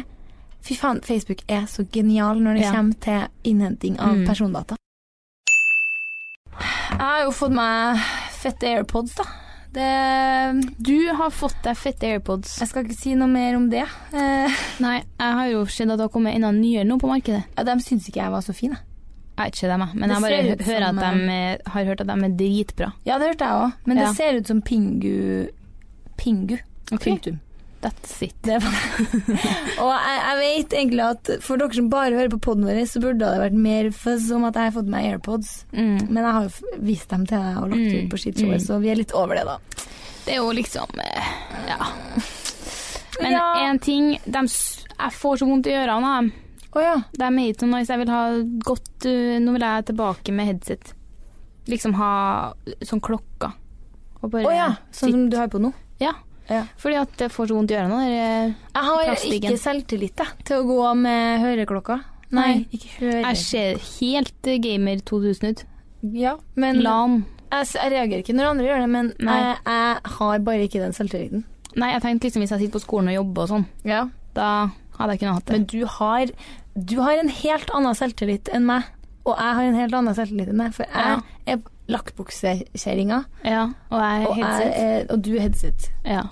Speaker 3: Fy faen, Facebook er så genial når det
Speaker 5: Ja.
Speaker 3: kommer til innhenting av
Speaker 5: Mm.
Speaker 3: persondata. Jeg har jo fått meg fette AirPods, da. Det,
Speaker 5: Du har fått deg fette AirPods.
Speaker 3: jeg skal ikke si noe mer om det. Eh,
Speaker 5: Nei, jeg har jo sett at det har kommet enda nyere nå på markedet.
Speaker 3: ja, de syns ikke jeg var så fin, jeg.
Speaker 5: Jeg vet ikke dem, jeg. Men
Speaker 3: Det
Speaker 5: jeg bare
Speaker 3: ser
Speaker 5: hø-
Speaker 3: ut
Speaker 5: hører
Speaker 3: som,
Speaker 5: at de eh, har hørt at de er dritbra.
Speaker 3: Ja, det hørte jeg òg, men
Speaker 5: Ja.
Speaker 3: det ser ut som Pingu Pingu. Punktum.
Speaker 5: That's it.
Speaker 3: Det var Og jeg, jeg vet egentlig at for dere som bare hører på poden vår, så burde det vært mer fuzz om at jeg har fått meg AirPods.
Speaker 5: Mm.
Speaker 3: Men jeg har jo f- vist dem til deg og lagt
Speaker 5: Mm,
Speaker 3: ut på skitshowet,
Speaker 5: mm.
Speaker 3: så vi er litt over det, da.
Speaker 5: Det er jo liksom eh, Ja. Men
Speaker 3: Ja.
Speaker 5: én ting de, s- Jeg får så vondt i ørene av dem.
Speaker 3: Å ja.
Speaker 5: De er ikke noe nice. Jeg vil ha godt eh, Nå vil jeg tilbake med headset. Liksom ha sånn klokka. Og bare
Speaker 3: Å ja. Sånn
Speaker 5: sitt-
Speaker 3: som du har på nå.
Speaker 5: Ja.
Speaker 3: Ja.
Speaker 5: Fordi at jeg får så vondt i ørene. der, eh,
Speaker 3: Jeg har
Speaker 5: Plastikken.
Speaker 3: ikke selvtillit jeg, til å gå med høreklokka.
Speaker 5: Nei.
Speaker 3: ikke
Speaker 5: eh,
Speaker 3: hører.
Speaker 5: Jeg ser helt eh, gamer 2000 ut.
Speaker 3: Ja, men jeg,
Speaker 5: LAN.
Speaker 3: s- jeg reagerer ikke når andre gjør det, men
Speaker 5: Nei.
Speaker 3: jeg, jeg har bare ikke den selvtilliten.
Speaker 5: Nei, jeg tenkte liksom hvis jeg sitter på skolen og jobber og sånn,
Speaker 3: Ja.
Speaker 5: da hadde jeg kunnet hatt det.
Speaker 3: Men du har, du har en helt annen selvtillit enn meg, og jeg har en helt annen selvtillit enn deg, for jeg
Speaker 5: Ja.
Speaker 3: er lakkbuksekjerringa,
Speaker 5: ja, og jeg
Speaker 3: og,
Speaker 5: er helt
Speaker 3: jeg
Speaker 5: sett.
Speaker 3: er- og du er headset.
Speaker 5: Ja.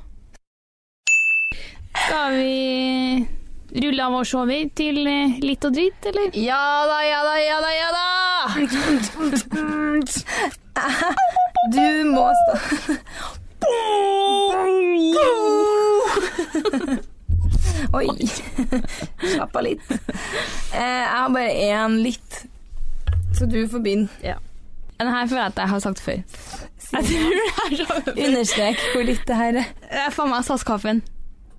Speaker 5: Skal vi rulle av og se over til eh, litt og dritt, eller?
Speaker 3: Ja da, ja da, ja da, ja da! Du må stå Oi. Slapp av litt. Eh, Jeg har bare én litt, så du får begynne.
Speaker 5: Den her føler jeg at jeg har sagt før. Jeg tror det er så
Speaker 3: Understrek hvor litt det her er.
Speaker 5: Det er faen meg SAS-kaffen.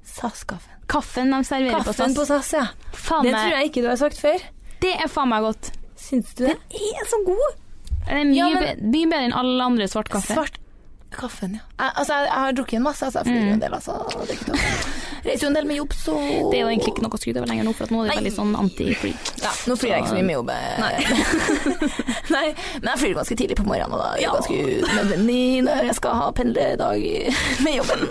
Speaker 3: SAS-kaffen.
Speaker 5: Kaffen de serverer
Speaker 3: Kaffen på
Speaker 5: på SAS.
Speaker 3: SAS, ja.
Speaker 5: Faen
Speaker 3: Det
Speaker 5: meg-
Speaker 3: tror jeg ikke du har sagt før.
Speaker 5: det er faen meg godt.
Speaker 3: Syns du det? Den er så god.
Speaker 5: Den er mye,
Speaker 3: Ja, men-
Speaker 5: be- mye bedre enn alle andre svart kaffe.
Speaker 3: Svart kaffen, ja. Jeg, altså, jeg, jeg har drukket en masse, altså. Jeg flyr jo en del, altså. og drikker to. Reiser jo en del med jobb, så
Speaker 5: Det er jo egentlig ikke noe å skryte over lenger nå, for at nå er det veldig sånn anti-free.
Speaker 3: Ja, nå flyr jeg ikke så mye med jobb. eh. Nei, men jeg flyr ganske tidlig på morgenen, og da er det ganske nødvendig når jeg skal ha pendledag med jobben.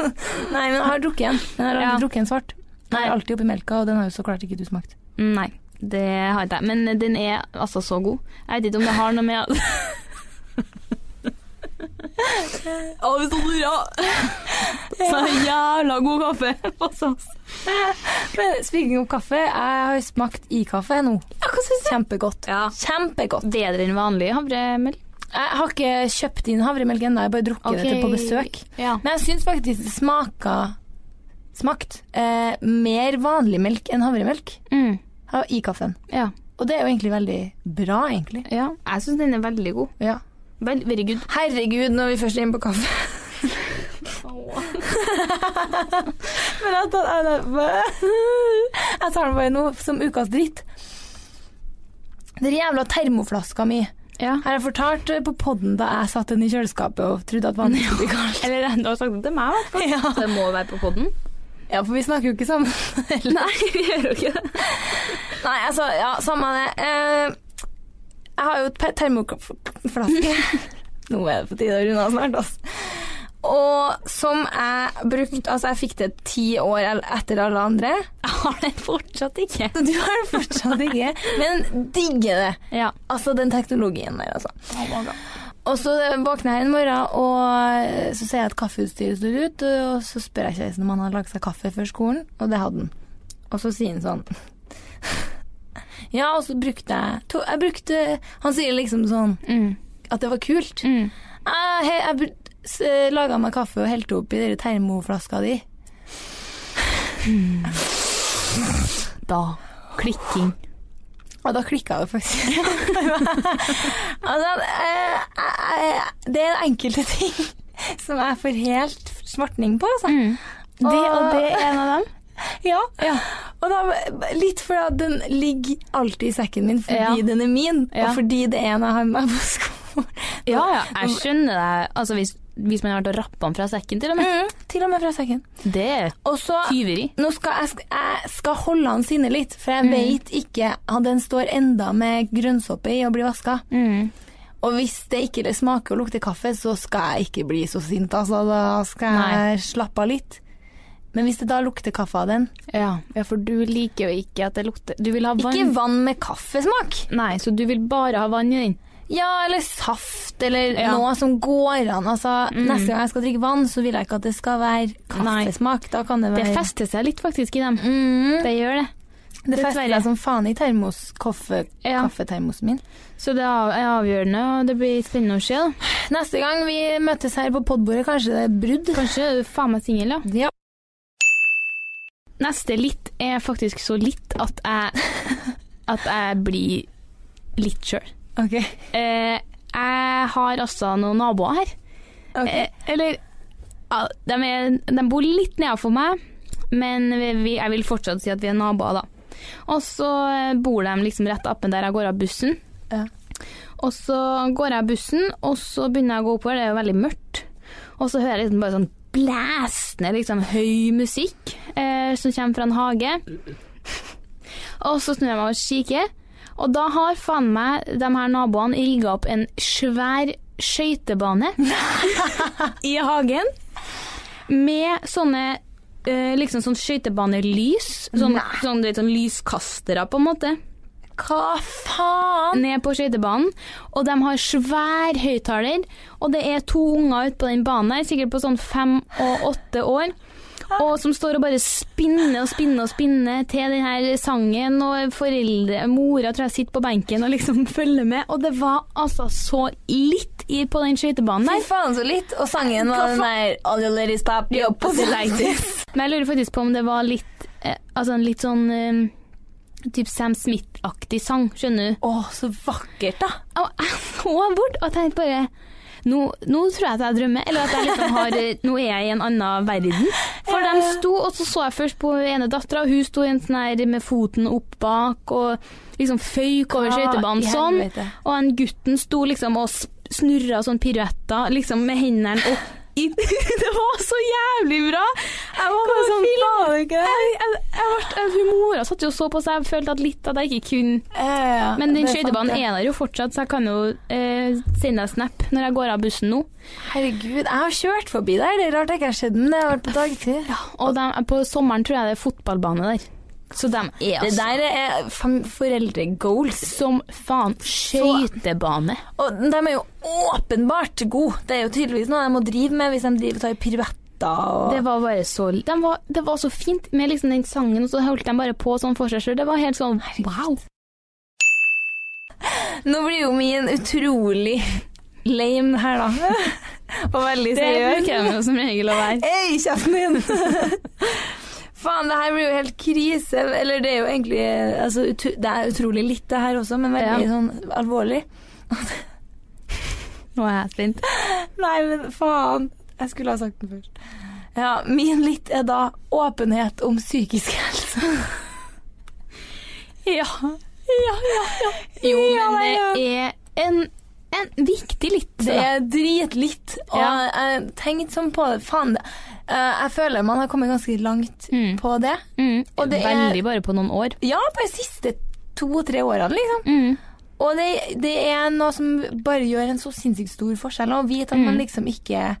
Speaker 3: Nei, men jeg har drukket en. Men jeg har aldri
Speaker 5: Ja.
Speaker 3: drukket en svart. Jeg er alltid oppi melka, og den har jo så klart ikke du smakt.
Speaker 5: Nei, det har ikke jeg. Men den er altså så god. Jeg vet ikke om det har noe med Ja, hvis du lurer Så jævla god kaffe på SAS.
Speaker 3: Men speaking om kaffe, jeg har smakt i kaffe nå. Kjempegodt. Kjempegodt.
Speaker 5: Bedre enn vanlig havremelk.
Speaker 3: Jeg har ikke kjøpt inn havremelk ennå, jeg har bare drukket det til på besøk.
Speaker 5: Ja.
Speaker 3: Men jeg syns faktisk det smaka smakt eh, mer vanlig melk enn havremelk
Speaker 5: Mm,
Speaker 3: av- i kaffen.
Speaker 5: ja.
Speaker 3: Og det er jo egentlig veldig bra, egentlig.
Speaker 5: ja. Jeg syns den er veldig god.
Speaker 3: Ja.
Speaker 5: Vel, very good.
Speaker 3: Herregud, når vi først er inne på kaffe. Men jeg tar, jeg, tar, jeg tar den bare nå som ukas dritt. Den jævla termoflaska mi.
Speaker 5: Ja.
Speaker 3: Her har jeg fortalt på podden da jeg satte den i kjøleskapet og trodde at vannet skulle bli kaldt.
Speaker 5: Eller du har sagt det til meg, i hvert fall.
Speaker 3: Ja.
Speaker 5: Det må være på poden.
Speaker 3: Ja, for vi snakker jo ikke sammen. Nei, vi gjør jo ikke det. Nei, altså, ja, samme det. Eh, jeg har jo et pe- termoflaske. Nå er det på tide å runde av snart, altså. Og som jeg brukte Altså, jeg fikk det ti år el- etter alle andre.
Speaker 5: Jeg har den fortsatt ikke.
Speaker 3: Så du har det fortsatt ikke. Men digger det.
Speaker 5: Ja.
Speaker 3: Altså den teknologien der, altså. Og så våkner jeg en morgen, og så ser jeg at kaffeutstyret står ut, og så spør jeg kjæresten om han har lagd seg kaffe før skolen, og det hadde han. Og så sier han sånn Ja, og så brukte jeg to, Jeg brukte Han sier liksom sånn
Speaker 5: Mm.
Speaker 3: at det var kult.
Speaker 5: Mm.
Speaker 3: Jeg, he- jeg, br- s- eh, laga meg kaffe og helte opp i den termoflaska di.
Speaker 5: Da. Klikking.
Speaker 3: Og da klikka det faktisk. altså, eh, eh, det er enkelte ting som jeg får helt svartning på, altså.
Speaker 5: Det Mm. og det er en av dem.
Speaker 3: Ja. Og da, litt fordi at den ligger alltid i sekken min fordi
Speaker 5: Ja.
Speaker 3: den er min,
Speaker 5: Ja.
Speaker 3: og fordi det er en jeg har med meg på skolen.
Speaker 5: Ja, ja, jeg skjønner deg. Altså, hvis hvis man har vært og rappa den fra sekken, til og med.
Speaker 3: Mm, til og med fra sekken.
Speaker 5: Det er
Speaker 3: Og så
Speaker 5: tyveri.
Speaker 3: Nå skal jeg, sk- jeg skal holde han sinne litt, for
Speaker 5: Mm.
Speaker 3: jeg vet ikke at den står enda med grønnsåpe i og blir vaska.
Speaker 5: Mm.
Speaker 3: Og hvis det ikke smaker og lukter kaffe, så skal jeg ikke bli så sint, altså. Da skal
Speaker 5: Nei.
Speaker 3: jeg slappe av litt. Men hvis det da lukter kaffe av den
Speaker 5: Ja. ja, for du liker jo ikke at det lukter Du vil ha vann.
Speaker 3: Ikke vann med kaffesmak!
Speaker 5: Nei, så du vil bare ha vann i den.
Speaker 3: Ja, eller saft, eller
Speaker 5: Ja. Mm.
Speaker 3: noe som går an. Altså, Neste gang jeg skal drikke vann, så vil jeg ikke at det skal være
Speaker 5: Nei.
Speaker 3: kaffesmak. Da kan det
Speaker 5: Det
Speaker 3: være
Speaker 5: fester seg litt faktisk i dem.
Speaker 3: Mm.
Speaker 5: Det gjør det.
Speaker 3: Det fester
Speaker 5: Dessverre.
Speaker 3: seg som faen i termos, kaffe,
Speaker 5: Ja.
Speaker 3: kaffetermosen min.
Speaker 5: Så det er av- er avgjørende, og det blir spennende å se. da.
Speaker 3: Neste gang vi møtes her på podbordet, kanskje det er brudd.
Speaker 5: Kanskje er du faen meg singel, ja.
Speaker 3: Ja.
Speaker 5: Neste litt er faktisk så litt at jeg At jeg blir litt sjøl.
Speaker 3: Ok.
Speaker 5: Eh, jeg har altså noen naboer her. Eh, eller ja, de, er, de bor litt nedenfor meg, men vi, vi, jeg vil fortsatt si at vi er naboer, da. Og så eh, bor de liksom rett oppe der jeg går av bussen.
Speaker 3: Ja.
Speaker 5: Og så går jeg av bussen, og så begynner jeg å gå oppover, det er jo veldig mørkt. Og så hører jeg liksom bare sånn blæsende liksom, høy musikk eh, som kommer fra en hage. Og så snur jeg meg og kikker, og da har faen meg de her naboene rigga opp en svær skøytebane i hagen med sånne eh, liksom sånn skøytebanelys. Sånn, sånn, du vet, sånn lyskastere, på en måte.
Speaker 3: Hva faen?
Speaker 5: Ned på skøytebanen. Og de har svær høyttaler. Og det er to unger ute på den banen, her, sikkert på sånn fem og åtte år. Og som står og bare spinner og spinner og spinner til den her sangen, og foreldre, mora tror jeg sitter på benken og liksom følger med. Og det var altså så litt i, på den skøytebanen
Speaker 3: Fy
Speaker 5: der.
Speaker 3: faen så litt. Og sangen var den der All your ladies pop, yo, pussy like this.
Speaker 5: Men jeg lurer faktisk på om det var litt eh, Altså en litt sånn eh, Typ Sam Smith-aktig sang, skjønner du?
Speaker 3: Å, så vakkert, da.
Speaker 5: Og jeg så bort og tenkte bare nå, nå tror jeg at jeg drømmer, eller at jeg liksom har eh, Nå er jeg i en annen verden. For de sto, og så så jeg først på ene dattera, og hun sto i en sånn her med foten opp bak og liksom føyk over
Speaker 3: Hva
Speaker 5: skøytebanen
Speaker 3: i
Speaker 5: sånn.
Speaker 3: helvete?
Speaker 5: Og den gutten sto liksom og sp- snurra sånn piruetter, liksom med hendene opp i Det var så jævlig bra! Jeg var bare sånn
Speaker 3: Faen, ikke det?
Speaker 5: jeg, jeg, jeg, ble- jeg, hun mora satt jo og så på, så jeg følte at litt at jeg ikke kunne
Speaker 3: Ja,
Speaker 5: Men den
Speaker 3: det er sant,
Speaker 5: skøytebanen
Speaker 3: det.
Speaker 5: er der jo fortsatt, så jeg kan jo eh, sende deg snap når jeg går av bussen nå.
Speaker 3: Herregud, jeg har kjørt forbi der. Det er rart jeg ikke har sett den. Det har vært på dagtid.
Speaker 5: Og dem- på sommeren tror jeg det er fotballbane der. Så de er
Speaker 3: Det
Speaker 5: altså
Speaker 3: der er fam- foreldregoals.
Speaker 5: som faen skøytebane.
Speaker 3: Og de er jo åpenbart gode. Det er jo tydeligvis noe de må drive med hvis de driver og tar piruetter og
Speaker 5: Det var bare så de var, Det var så fint med liksom den sangen, og så holdt de bare på sånn for seg sjøl. Det var helt sånn wow.
Speaker 3: Nå blir jo min utrolig lame her, da. Og veldig
Speaker 5: Det
Speaker 3: seriøs.
Speaker 5: bruker de jo som regel å være.
Speaker 3: Hei, kjeften din! Faen, det her blir jo helt krise. Eller det er jo egentlig altså, utu- Det er utrolig litt, det her også, men veldig
Speaker 5: Ja.
Speaker 3: sånn alvorlig.
Speaker 5: Nå er jeg spent.
Speaker 3: Nei, men faen. Jeg skulle ha sagt den først. Ja, min litt er da åpenhet om psykisk helse.
Speaker 5: Ja. Ja, ja, ja. Jo,
Speaker 3: Ja,
Speaker 5: men
Speaker 3: ja.
Speaker 5: det er en, en viktig litt.
Speaker 3: Det
Speaker 5: da.
Speaker 3: er dritlitt. Og
Speaker 5: Ja.
Speaker 3: jeg tenkte sånn på det. Faen, det- eh, jeg føler man har kommet ganske langt
Speaker 5: Mm.
Speaker 3: på det.
Speaker 5: Mm.
Speaker 3: og det er-
Speaker 5: Veldig bare på noen år.
Speaker 3: Ja, på de siste to-tre årene, liksom.
Speaker 5: Mm.
Speaker 3: Og det, det er noe som bare gjør en så sinnssykt stor forskjell. Å vite at man
Speaker 5: Mm.
Speaker 3: liksom ikke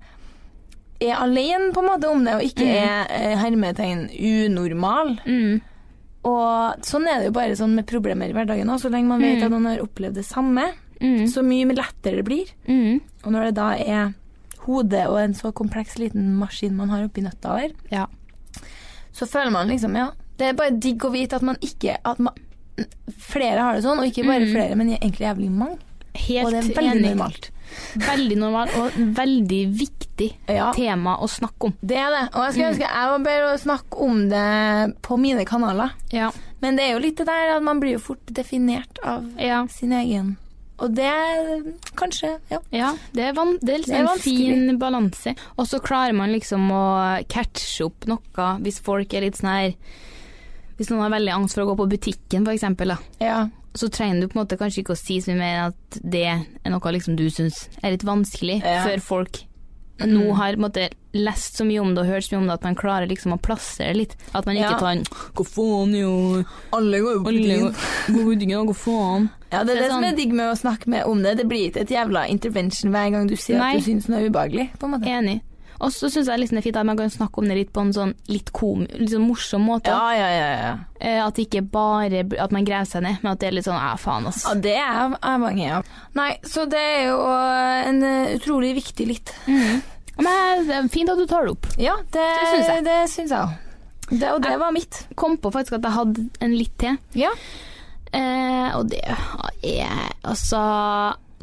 Speaker 3: er alene på en måte om det, og ikke er eh, hermetegn unormal.
Speaker 5: Mm.
Speaker 3: Og sånn er det jo bare sånn med problemer i hverdagen òg. Så lenge man vet at man har opplevd det samme,
Speaker 5: Mm.
Speaker 3: så mye lettere det blir.
Speaker 5: Mm.
Speaker 3: Og når det da er hodet og en så kompleks liten maskin man har oppi nøtta der,
Speaker 5: Ja.
Speaker 3: så føler man liksom, ja Det er bare digg å vite at man ikke at man, Flere har det sånn, og ikke bare flere, men egentlig jævlig mange.
Speaker 5: Mm. Helt
Speaker 3: Og det er veldig
Speaker 5: enig.
Speaker 3: normalt.
Speaker 5: Veldig normalt og en veldig viktig
Speaker 3: Ja.
Speaker 5: tema å snakke om.
Speaker 3: Det er det. Og jeg
Speaker 5: Mm.
Speaker 3: skulle ønske jeg var bedre å snakke om det på mine kanaler.
Speaker 5: Ja.
Speaker 3: Men det er jo litt det der at man blir jo fort definert av
Speaker 5: Ja.
Speaker 3: sin egen Og det er kanskje Ja.
Speaker 5: det er, van det er liksom
Speaker 3: Det er
Speaker 5: en fin balanse. Og så klarer man liksom å catche opp noe hvis folk er litt sånn her Hvis noen har veldig angst for å gå på butikken, for eksempel, da.
Speaker 3: ja.
Speaker 5: så trenger du på en måte kanskje ikke å si så mye mer at det er noe liksom du syns er litt vanskelig,
Speaker 3: Ja.
Speaker 5: før folk nå har på en måte, lest så mye om det og hørt så mye om det at man klarer liksom å plassere litt. At man ikke
Speaker 3: Ja.
Speaker 5: tar en Hva faen, jo
Speaker 3: Alle går jo på
Speaker 5: Alle
Speaker 3: butikken.
Speaker 5: går går på butikken, og hva faen?
Speaker 3: Ja, det
Speaker 5: Det
Speaker 3: er
Speaker 5: er
Speaker 3: det som
Speaker 5: sånn-
Speaker 3: er digg med å snakke med om det. Det blir ikke et jævla intervention hver gang du sier
Speaker 5: Nei.
Speaker 3: at du syns noe er ubehagelig. På en måte.
Speaker 5: Enig. Og så syns jeg liksom det er fint at man kan snakke om det litt på en sånn litt kom, litt sånn morsom måte.
Speaker 3: Ja, ja, ja, ja.
Speaker 5: Eh, At det ikke bare blir- at man graver seg ned, men at det er litt sånn ja, faen, ass.
Speaker 3: ja det er jeg avhengig av. Nei, så det er jo en eh, utrolig viktig litt.
Speaker 5: Men det er fint at du tar det opp.
Speaker 3: Ja, det,
Speaker 5: Det syns jeg.
Speaker 3: det syns jeg òg. Det, og det var mitt.
Speaker 5: Kom på faktisk at jeg hadde en litt til.
Speaker 3: Ja.
Speaker 5: Eh, og det er altså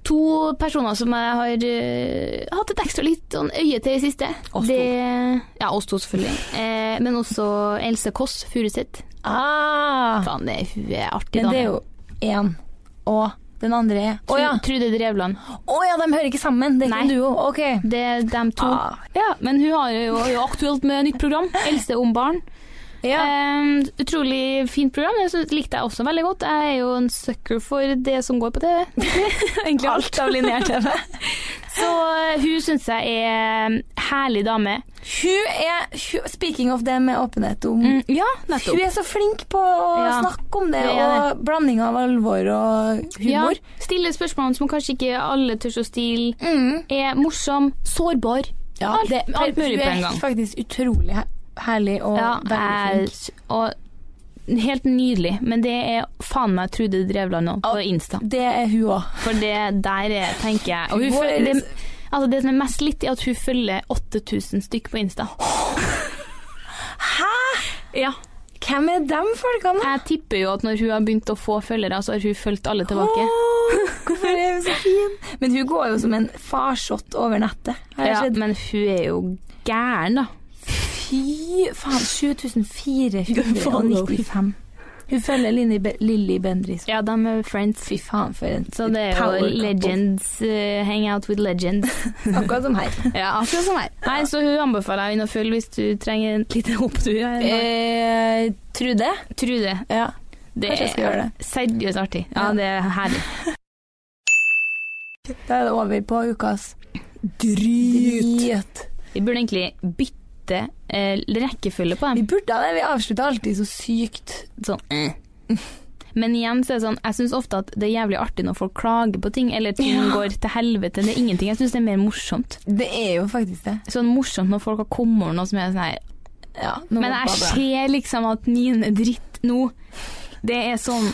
Speaker 5: To personer som jeg har eh, hatt et ekstra litt sånn øye til i det siste.
Speaker 3: Oss to.
Speaker 5: Det, ja, oss to, selvfølgelig. Eh, men også Else Kåss Furuseth.
Speaker 3: Ah,
Speaker 5: Faen, det er, hun er artig,
Speaker 3: men
Speaker 5: da.
Speaker 3: det er jo én og den andre er Å ja.
Speaker 5: Trude Drevland.
Speaker 3: Å ja, de hører ikke sammen. Det er ikke en
Speaker 5: Nei.
Speaker 3: duo. Ok.
Speaker 5: Det er dem to.
Speaker 3: Ah.
Speaker 5: Ja, men hun har jo, er jo aktuelt med nytt program. Else om barn.
Speaker 3: Ja.
Speaker 5: Eh, utrolig fint program. Det synes- likte jeg også veldig godt. Jeg er jo en sucker for det som går på TV. Egentlig
Speaker 3: Alt av linjer-TV.
Speaker 5: Så eh, hun syns jeg er en herlig dame.
Speaker 3: Hun er hun, Speaking of det med åpenhet om
Speaker 5: ja,
Speaker 3: Hun er så flink på å
Speaker 5: Ja,
Speaker 3: snakke om det,
Speaker 5: det er
Speaker 3: og blanding av alvor og
Speaker 5: Ja,
Speaker 3: humor.
Speaker 5: stille spørsmål som kanskje ikke alle tør å stille.
Speaker 3: Ja, mm.
Speaker 5: Er morsom, sårbar.
Speaker 3: ja
Speaker 5: alt- alt mulig på en gang.
Speaker 3: Hun er faktisk utrolig her- herlig og
Speaker 5: Ja,
Speaker 3: veldig
Speaker 5: er,
Speaker 3: flink.
Speaker 5: og helt nydelig. Men det er faen meg Trude Drevland nå, på Insta.
Speaker 3: Det er hun òg.
Speaker 5: For det der er, tenker jeg og hun
Speaker 3: Hvor-
Speaker 5: føl, det, altså det som er mest litt, er at hun følger 8000 stykk på Insta. Hæ?! Ja.
Speaker 3: Hvem er de folkene? da?
Speaker 5: Jeg tipper jo at når hun har begynt å få følgere, så har hun fulgt alle tilbake.
Speaker 3: Åh, hvorfor er hun så fin? Men hun går jo som en farsott over nettet. Har jeg
Speaker 5: Ja,
Speaker 3: sett?
Speaker 5: men hun er jo gæren, da.
Speaker 3: Fy faen, 7495. Hun følger Linni Be- Lilly Bendriss.
Speaker 5: Ja, de er friends.
Speaker 3: Fy faen, for en
Speaker 5: Så det er jo
Speaker 3: power couple.
Speaker 5: legends. eh, hang out with legends.
Speaker 3: Akkurat som her.
Speaker 5: Ja, akkurat som meg. Nei, så hun anbefaler jeg henne å følge hvis du trenger en liten opptur. her.
Speaker 3: Eh, Trude?
Speaker 5: Trude.
Speaker 3: Ja.
Speaker 5: Det
Speaker 3: Kanskje jeg skal gjøre
Speaker 5: er seriøst artig. Ja,
Speaker 3: Ja.
Speaker 5: det er herlig.
Speaker 3: Da er det over på ukas Dryt.
Speaker 5: Vi burde egentlig bytte eh, rekkefølge på
Speaker 3: Vi
Speaker 5: dem.
Speaker 3: burde ha det. Vi avslutter alltid så sykt.
Speaker 5: Sånn. eh. Men igjen så er det sånn, jeg syns ofte at det er jævlig artig når folk klager på ting, eller ting går til helvete. Det er ingenting. Jeg syns det er mer morsomt.
Speaker 3: Det er jo faktisk det.
Speaker 5: Sånn morsomt når folk har kommet over noe som er sånn her
Speaker 3: Ja, nå
Speaker 5: Men
Speaker 3: må
Speaker 5: jeg
Speaker 3: vi bare-
Speaker 5: ser liksom at mine dritt nå, det er sånn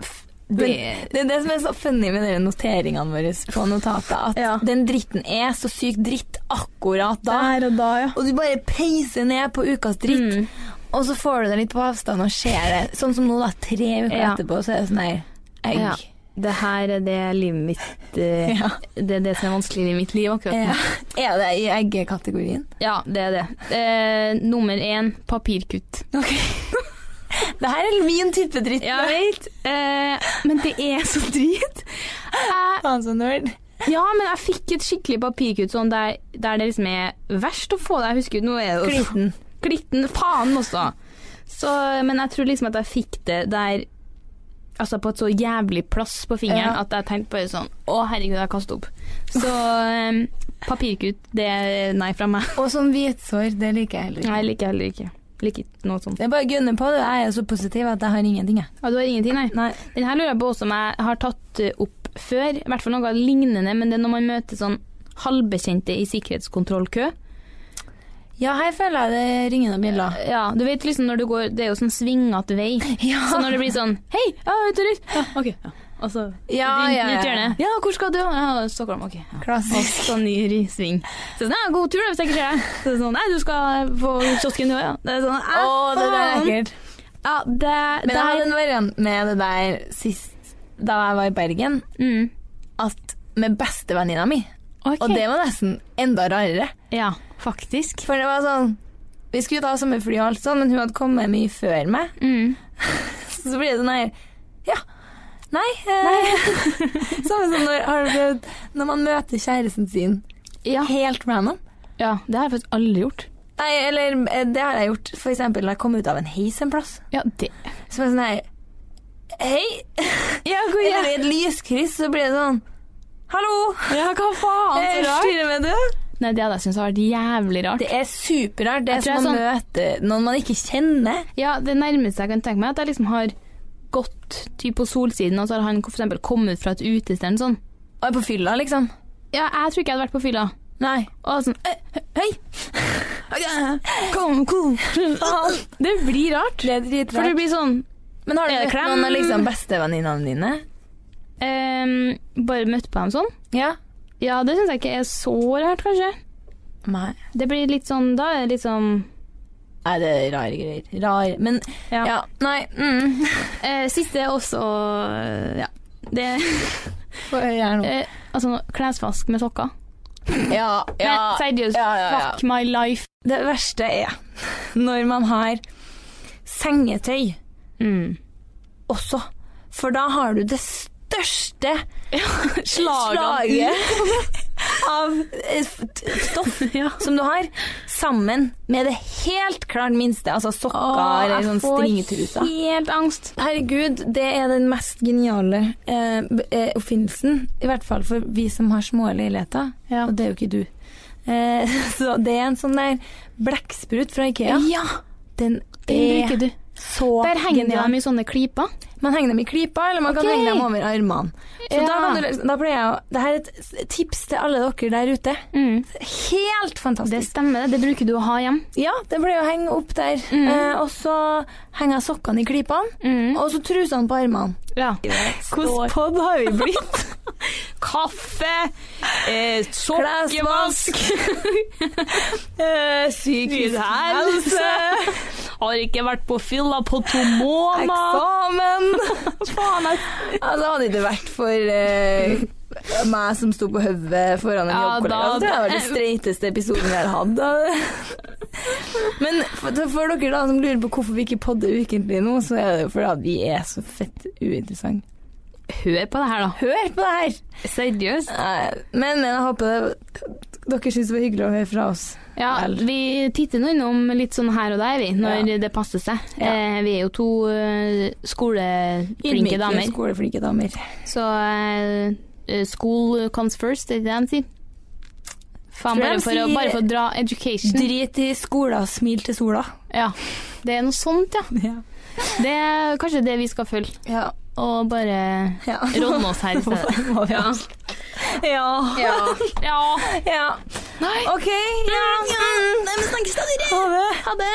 Speaker 5: f- Det
Speaker 3: Men det er det som er så funny med dere noteringene våre på notatet, at
Speaker 5: Ja.
Speaker 3: den dritten er så sykt dritt akkurat da.
Speaker 5: og da, ja.
Speaker 3: Og du bare peiser ned på ukas dritt,
Speaker 5: Mm.
Speaker 3: og så får du det litt på avstand og ser det. Sånn som nå, da. Tre uker
Speaker 5: Ja.
Speaker 3: etterpå, så er det sånn her egg.
Speaker 5: Ja. Det her er det livet mitt eh,
Speaker 3: Ja.
Speaker 5: Det er det som er vanskelig i mitt liv akkurat nå.
Speaker 3: Ja. Er det i eggkategorien?
Speaker 5: Ja, det er det. Eh, nummer én papirkutt.
Speaker 3: Ok. det her er min type dritt.
Speaker 5: Jeg vet, eh, men det er så drit. Jeg,
Speaker 3: Faen så nerd.
Speaker 5: ja, men jeg fikk et skikkelig papirkutt sånn der, der det liksom er verst å få det. Jeg husker jo, nå er det jo-
Speaker 3: Klitten.
Speaker 5: Klitten, faen også. Så, men jeg tror liksom at jeg fikk det der Altså på et så jævlig plass på fingeren
Speaker 3: Ja.
Speaker 5: at jeg tenkte bare sånn Å, herregud, jeg kaster opp. Så eh, papirkutt, det er nei fra meg.
Speaker 3: Og sånn hvitsår, det liker jeg heller
Speaker 5: Nei,
Speaker 3: ikke.
Speaker 5: jeg liker heller ikke. Liker ikke noe sånt.
Speaker 3: Det er bare å gunne på det. Jeg er så positiv at jeg har ingenting, jeg.
Speaker 5: Ja, du har ingenting, nei?
Speaker 3: Nei.
Speaker 5: Den her lurer jeg på som jeg har tatt eh, opp før. I hvert fall noe lignende, men det er når man møter sånn halvbekjente i sikkerhetskontrollkø.
Speaker 3: Ja, her føler jeg det ringer noen bjeller.
Speaker 5: Ja, du vet liksom når du går Det er jo sånn svingete vei. Så når det blir sånn Hei, ja, vet du Ja, ok. Ja. Og så
Speaker 3: Ja,
Speaker 5: rundt
Speaker 3: ja,
Speaker 5: rundt
Speaker 3: ja.
Speaker 5: hjørnet. Ja, hvor skal du? Ja, Stockholm. Ok. Ja. Og
Speaker 3: Klassisk.
Speaker 5: så ny ri- sving. Så sånn, ja, god tur da, hvis jeg ikke ser deg. Så sånn, nei, du skal på kiosken du òg, ja. Det er sånn,
Speaker 3: Å, det der er
Speaker 5: faen.
Speaker 3: ekkelt.
Speaker 5: Ja, det,
Speaker 3: Men
Speaker 5: det
Speaker 3: jeg hadde
Speaker 5: er
Speaker 3: en variant med det der sist da jeg var i Bergen,
Speaker 5: mm,
Speaker 3: at med bestevenninna mi.
Speaker 5: ok.
Speaker 3: Og det var nesten enda rarere.
Speaker 5: Ja, faktisk.
Speaker 3: For det var sånn Vi skulle ta sommerfly og alt sånn, men hun hadde kommet mye før meg.
Speaker 5: Mm.
Speaker 3: Så blir det sånn her Ja. Nei. Eh. Samme som når, har du prøvd, når man møter kjæresten sin
Speaker 5: Ja.
Speaker 3: helt random.
Speaker 5: ja, det har jeg faktisk aldri gjort.
Speaker 3: Nei, eller eh, det har jeg gjort for eksempel når jeg kom ut av en heis en plass.
Speaker 5: Ja, det
Speaker 3: Så var jeg sånn her Hei!
Speaker 5: Ja, hvor
Speaker 3: Eller i et lyskryss, så blir det sånn Hallo!
Speaker 5: Ja, hva faen,
Speaker 3: Eh,
Speaker 5: så rart.
Speaker 3: styrer med du?
Speaker 5: Nei, det hadde jeg syntes vært jævlig rart.
Speaker 3: Det er superrart. Det
Speaker 5: Jeg
Speaker 3: er sånn-
Speaker 5: tror
Speaker 3: som å
Speaker 5: jeg
Speaker 3: møte noen man ikke kjenner.
Speaker 5: Ja, det nærmeste jeg kan tenke meg, er at jeg liksom har gått typ på solsiden, og så har han for eksempel kommet fra et utested eller sånn.
Speaker 3: Og er på fylla, liksom.
Speaker 5: Ja, jeg tror ikke jeg hadde vært på fylla.
Speaker 3: Nei.
Speaker 5: Og sånn, «Eh,
Speaker 3: Hei! Kom, kom! Faen!
Speaker 5: det blir rart.
Speaker 3: Det er
Speaker 5: For det
Speaker 3: dritrart.
Speaker 5: blir sånn
Speaker 3: Men har du
Speaker 5: Er det
Speaker 3: møtt
Speaker 5: klem?
Speaker 3: noen av liksom bestevenninnene dine?
Speaker 5: ehm, Bare møtt på dem sånn.
Speaker 3: Ja.
Speaker 5: Ja, det syns jeg ikke er så rart, kanskje.
Speaker 3: Nei.
Speaker 5: Det blir litt sånn Da er det litt sånn
Speaker 3: Nei, det er rare greier. Rar. Men
Speaker 5: Ja.
Speaker 3: ja, nei. Mm.
Speaker 5: Eh, siste er også eh, Ja. Det
Speaker 3: Får jeg gjøre noe?
Speaker 5: eh, Altså, klesvask med sokker.
Speaker 3: Ja, ja.
Speaker 5: Men seriøst,
Speaker 3: Ja, ja, ja.
Speaker 5: fuck my life.
Speaker 3: Det verste er når man har sengetøy
Speaker 5: Mm.
Speaker 3: også, for da har du det største
Speaker 5: Slagene.
Speaker 3: av eh, f- t- stoff som du har, sammen med det helt klart minste, altså sokker
Speaker 5: Åh,
Speaker 3: eller sånn stringetruser.
Speaker 5: helt angst.
Speaker 3: Herregud, det er den mest geniale eh, b- eh, oppfinnelsen. I hvert fall for vi som har små leiligheter,
Speaker 5: Ja.
Speaker 3: og det er jo ikke du. Eh, så det er en sånn der blekksprut fra Ikea. Den er
Speaker 5: du.
Speaker 3: så
Speaker 5: Der henger de
Speaker 3: genial.
Speaker 5: i sånne klyper.
Speaker 3: Man henger dem i klypa, eller man
Speaker 5: Ok.
Speaker 3: kan henge dem over armene. Så
Speaker 5: Ja.
Speaker 3: da, kan du, da pleier jeg å Det her er et s- tips til alle dere der ute. Helt
Speaker 5: Mm. Det
Speaker 3: fantastisk.
Speaker 5: stemmer, det. Mm. Det bruker du å ha hjem.
Speaker 3: ja, det pleier å henge opp der. Eh, og så henger jeg sokkene i klypene, og så trusene på armene.
Speaker 5: Mm. Ja.
Speaker 3: Hvordan pod har vi blitt?
Speaker 5: Kaffe, eh,
Speaker 3: Klesvask. eh, psykisk helse.
Speaker 5: har ikke vært på fylla på to måneder.
Speaker 3: Eksamen. Altså, hadde det ikke vært for eh, meg som sto på hodet foran en
Speaker 5: Ja,
Speaker 3: jobbkollega,
Speaker 5: da-
Speaker 3: så tror jeg det var den streiteste episoden jeg har hatt. Men for, for dere da som lurer på hvorfor vi ikke podder ukentlig nå, så er det jo fordi at vi er så fett uinteressante.
Speaker 5: Hør på det her, da.
Speaker 3: Hør på det her!
Speaker 5: Seriøst.
Speaker 3: Nei, Men, men jeg håper det, dere syns det var hyggelig å høre fra oss.
Speaker 5: Ja,
Speaker 3: Vel.
Speaker 5: vi titter nå innom litt sånn her og der, vi, når det passer seg.
Speaker 3: Ja.
Speaker 5: Eh, vi er jo to eh, skoleflinke
Speaker 3: Ydmyke,
Speaker 5: damer,
Speaker 3: Skoleflinke damer.
Speaker 5: så eh, eh, school comes first, er det det de sier? Faen,
Speaker 3: Tror
Speaker 5: bare
Speaker 3: de
Speaker 5: for, å,
Speaker 3: sier-
Speaker 5: bare for å dra education.
Speaker 3: Drit i skolen, smil til sola.
Speaker 5: Ja, det er noe sånt, ja.
Speaker 3: Ja.
Speaker 5: Det er kanskje det vi skal følge,
Speaker 3: ja.
Speaker 5: og bare
Speaker 3: ja.
Speaker 5: rådne oss her i stedet. Ja.
Speaker 3: Ja.
Speaker 5: Ja. ja.
Speaker 3: ja.
Speaker 5: Nei. Mm,
Speaker 3: OK. Ja. Nei, men snakkes da, dere. Ha det.
Speaker 5: Ha det.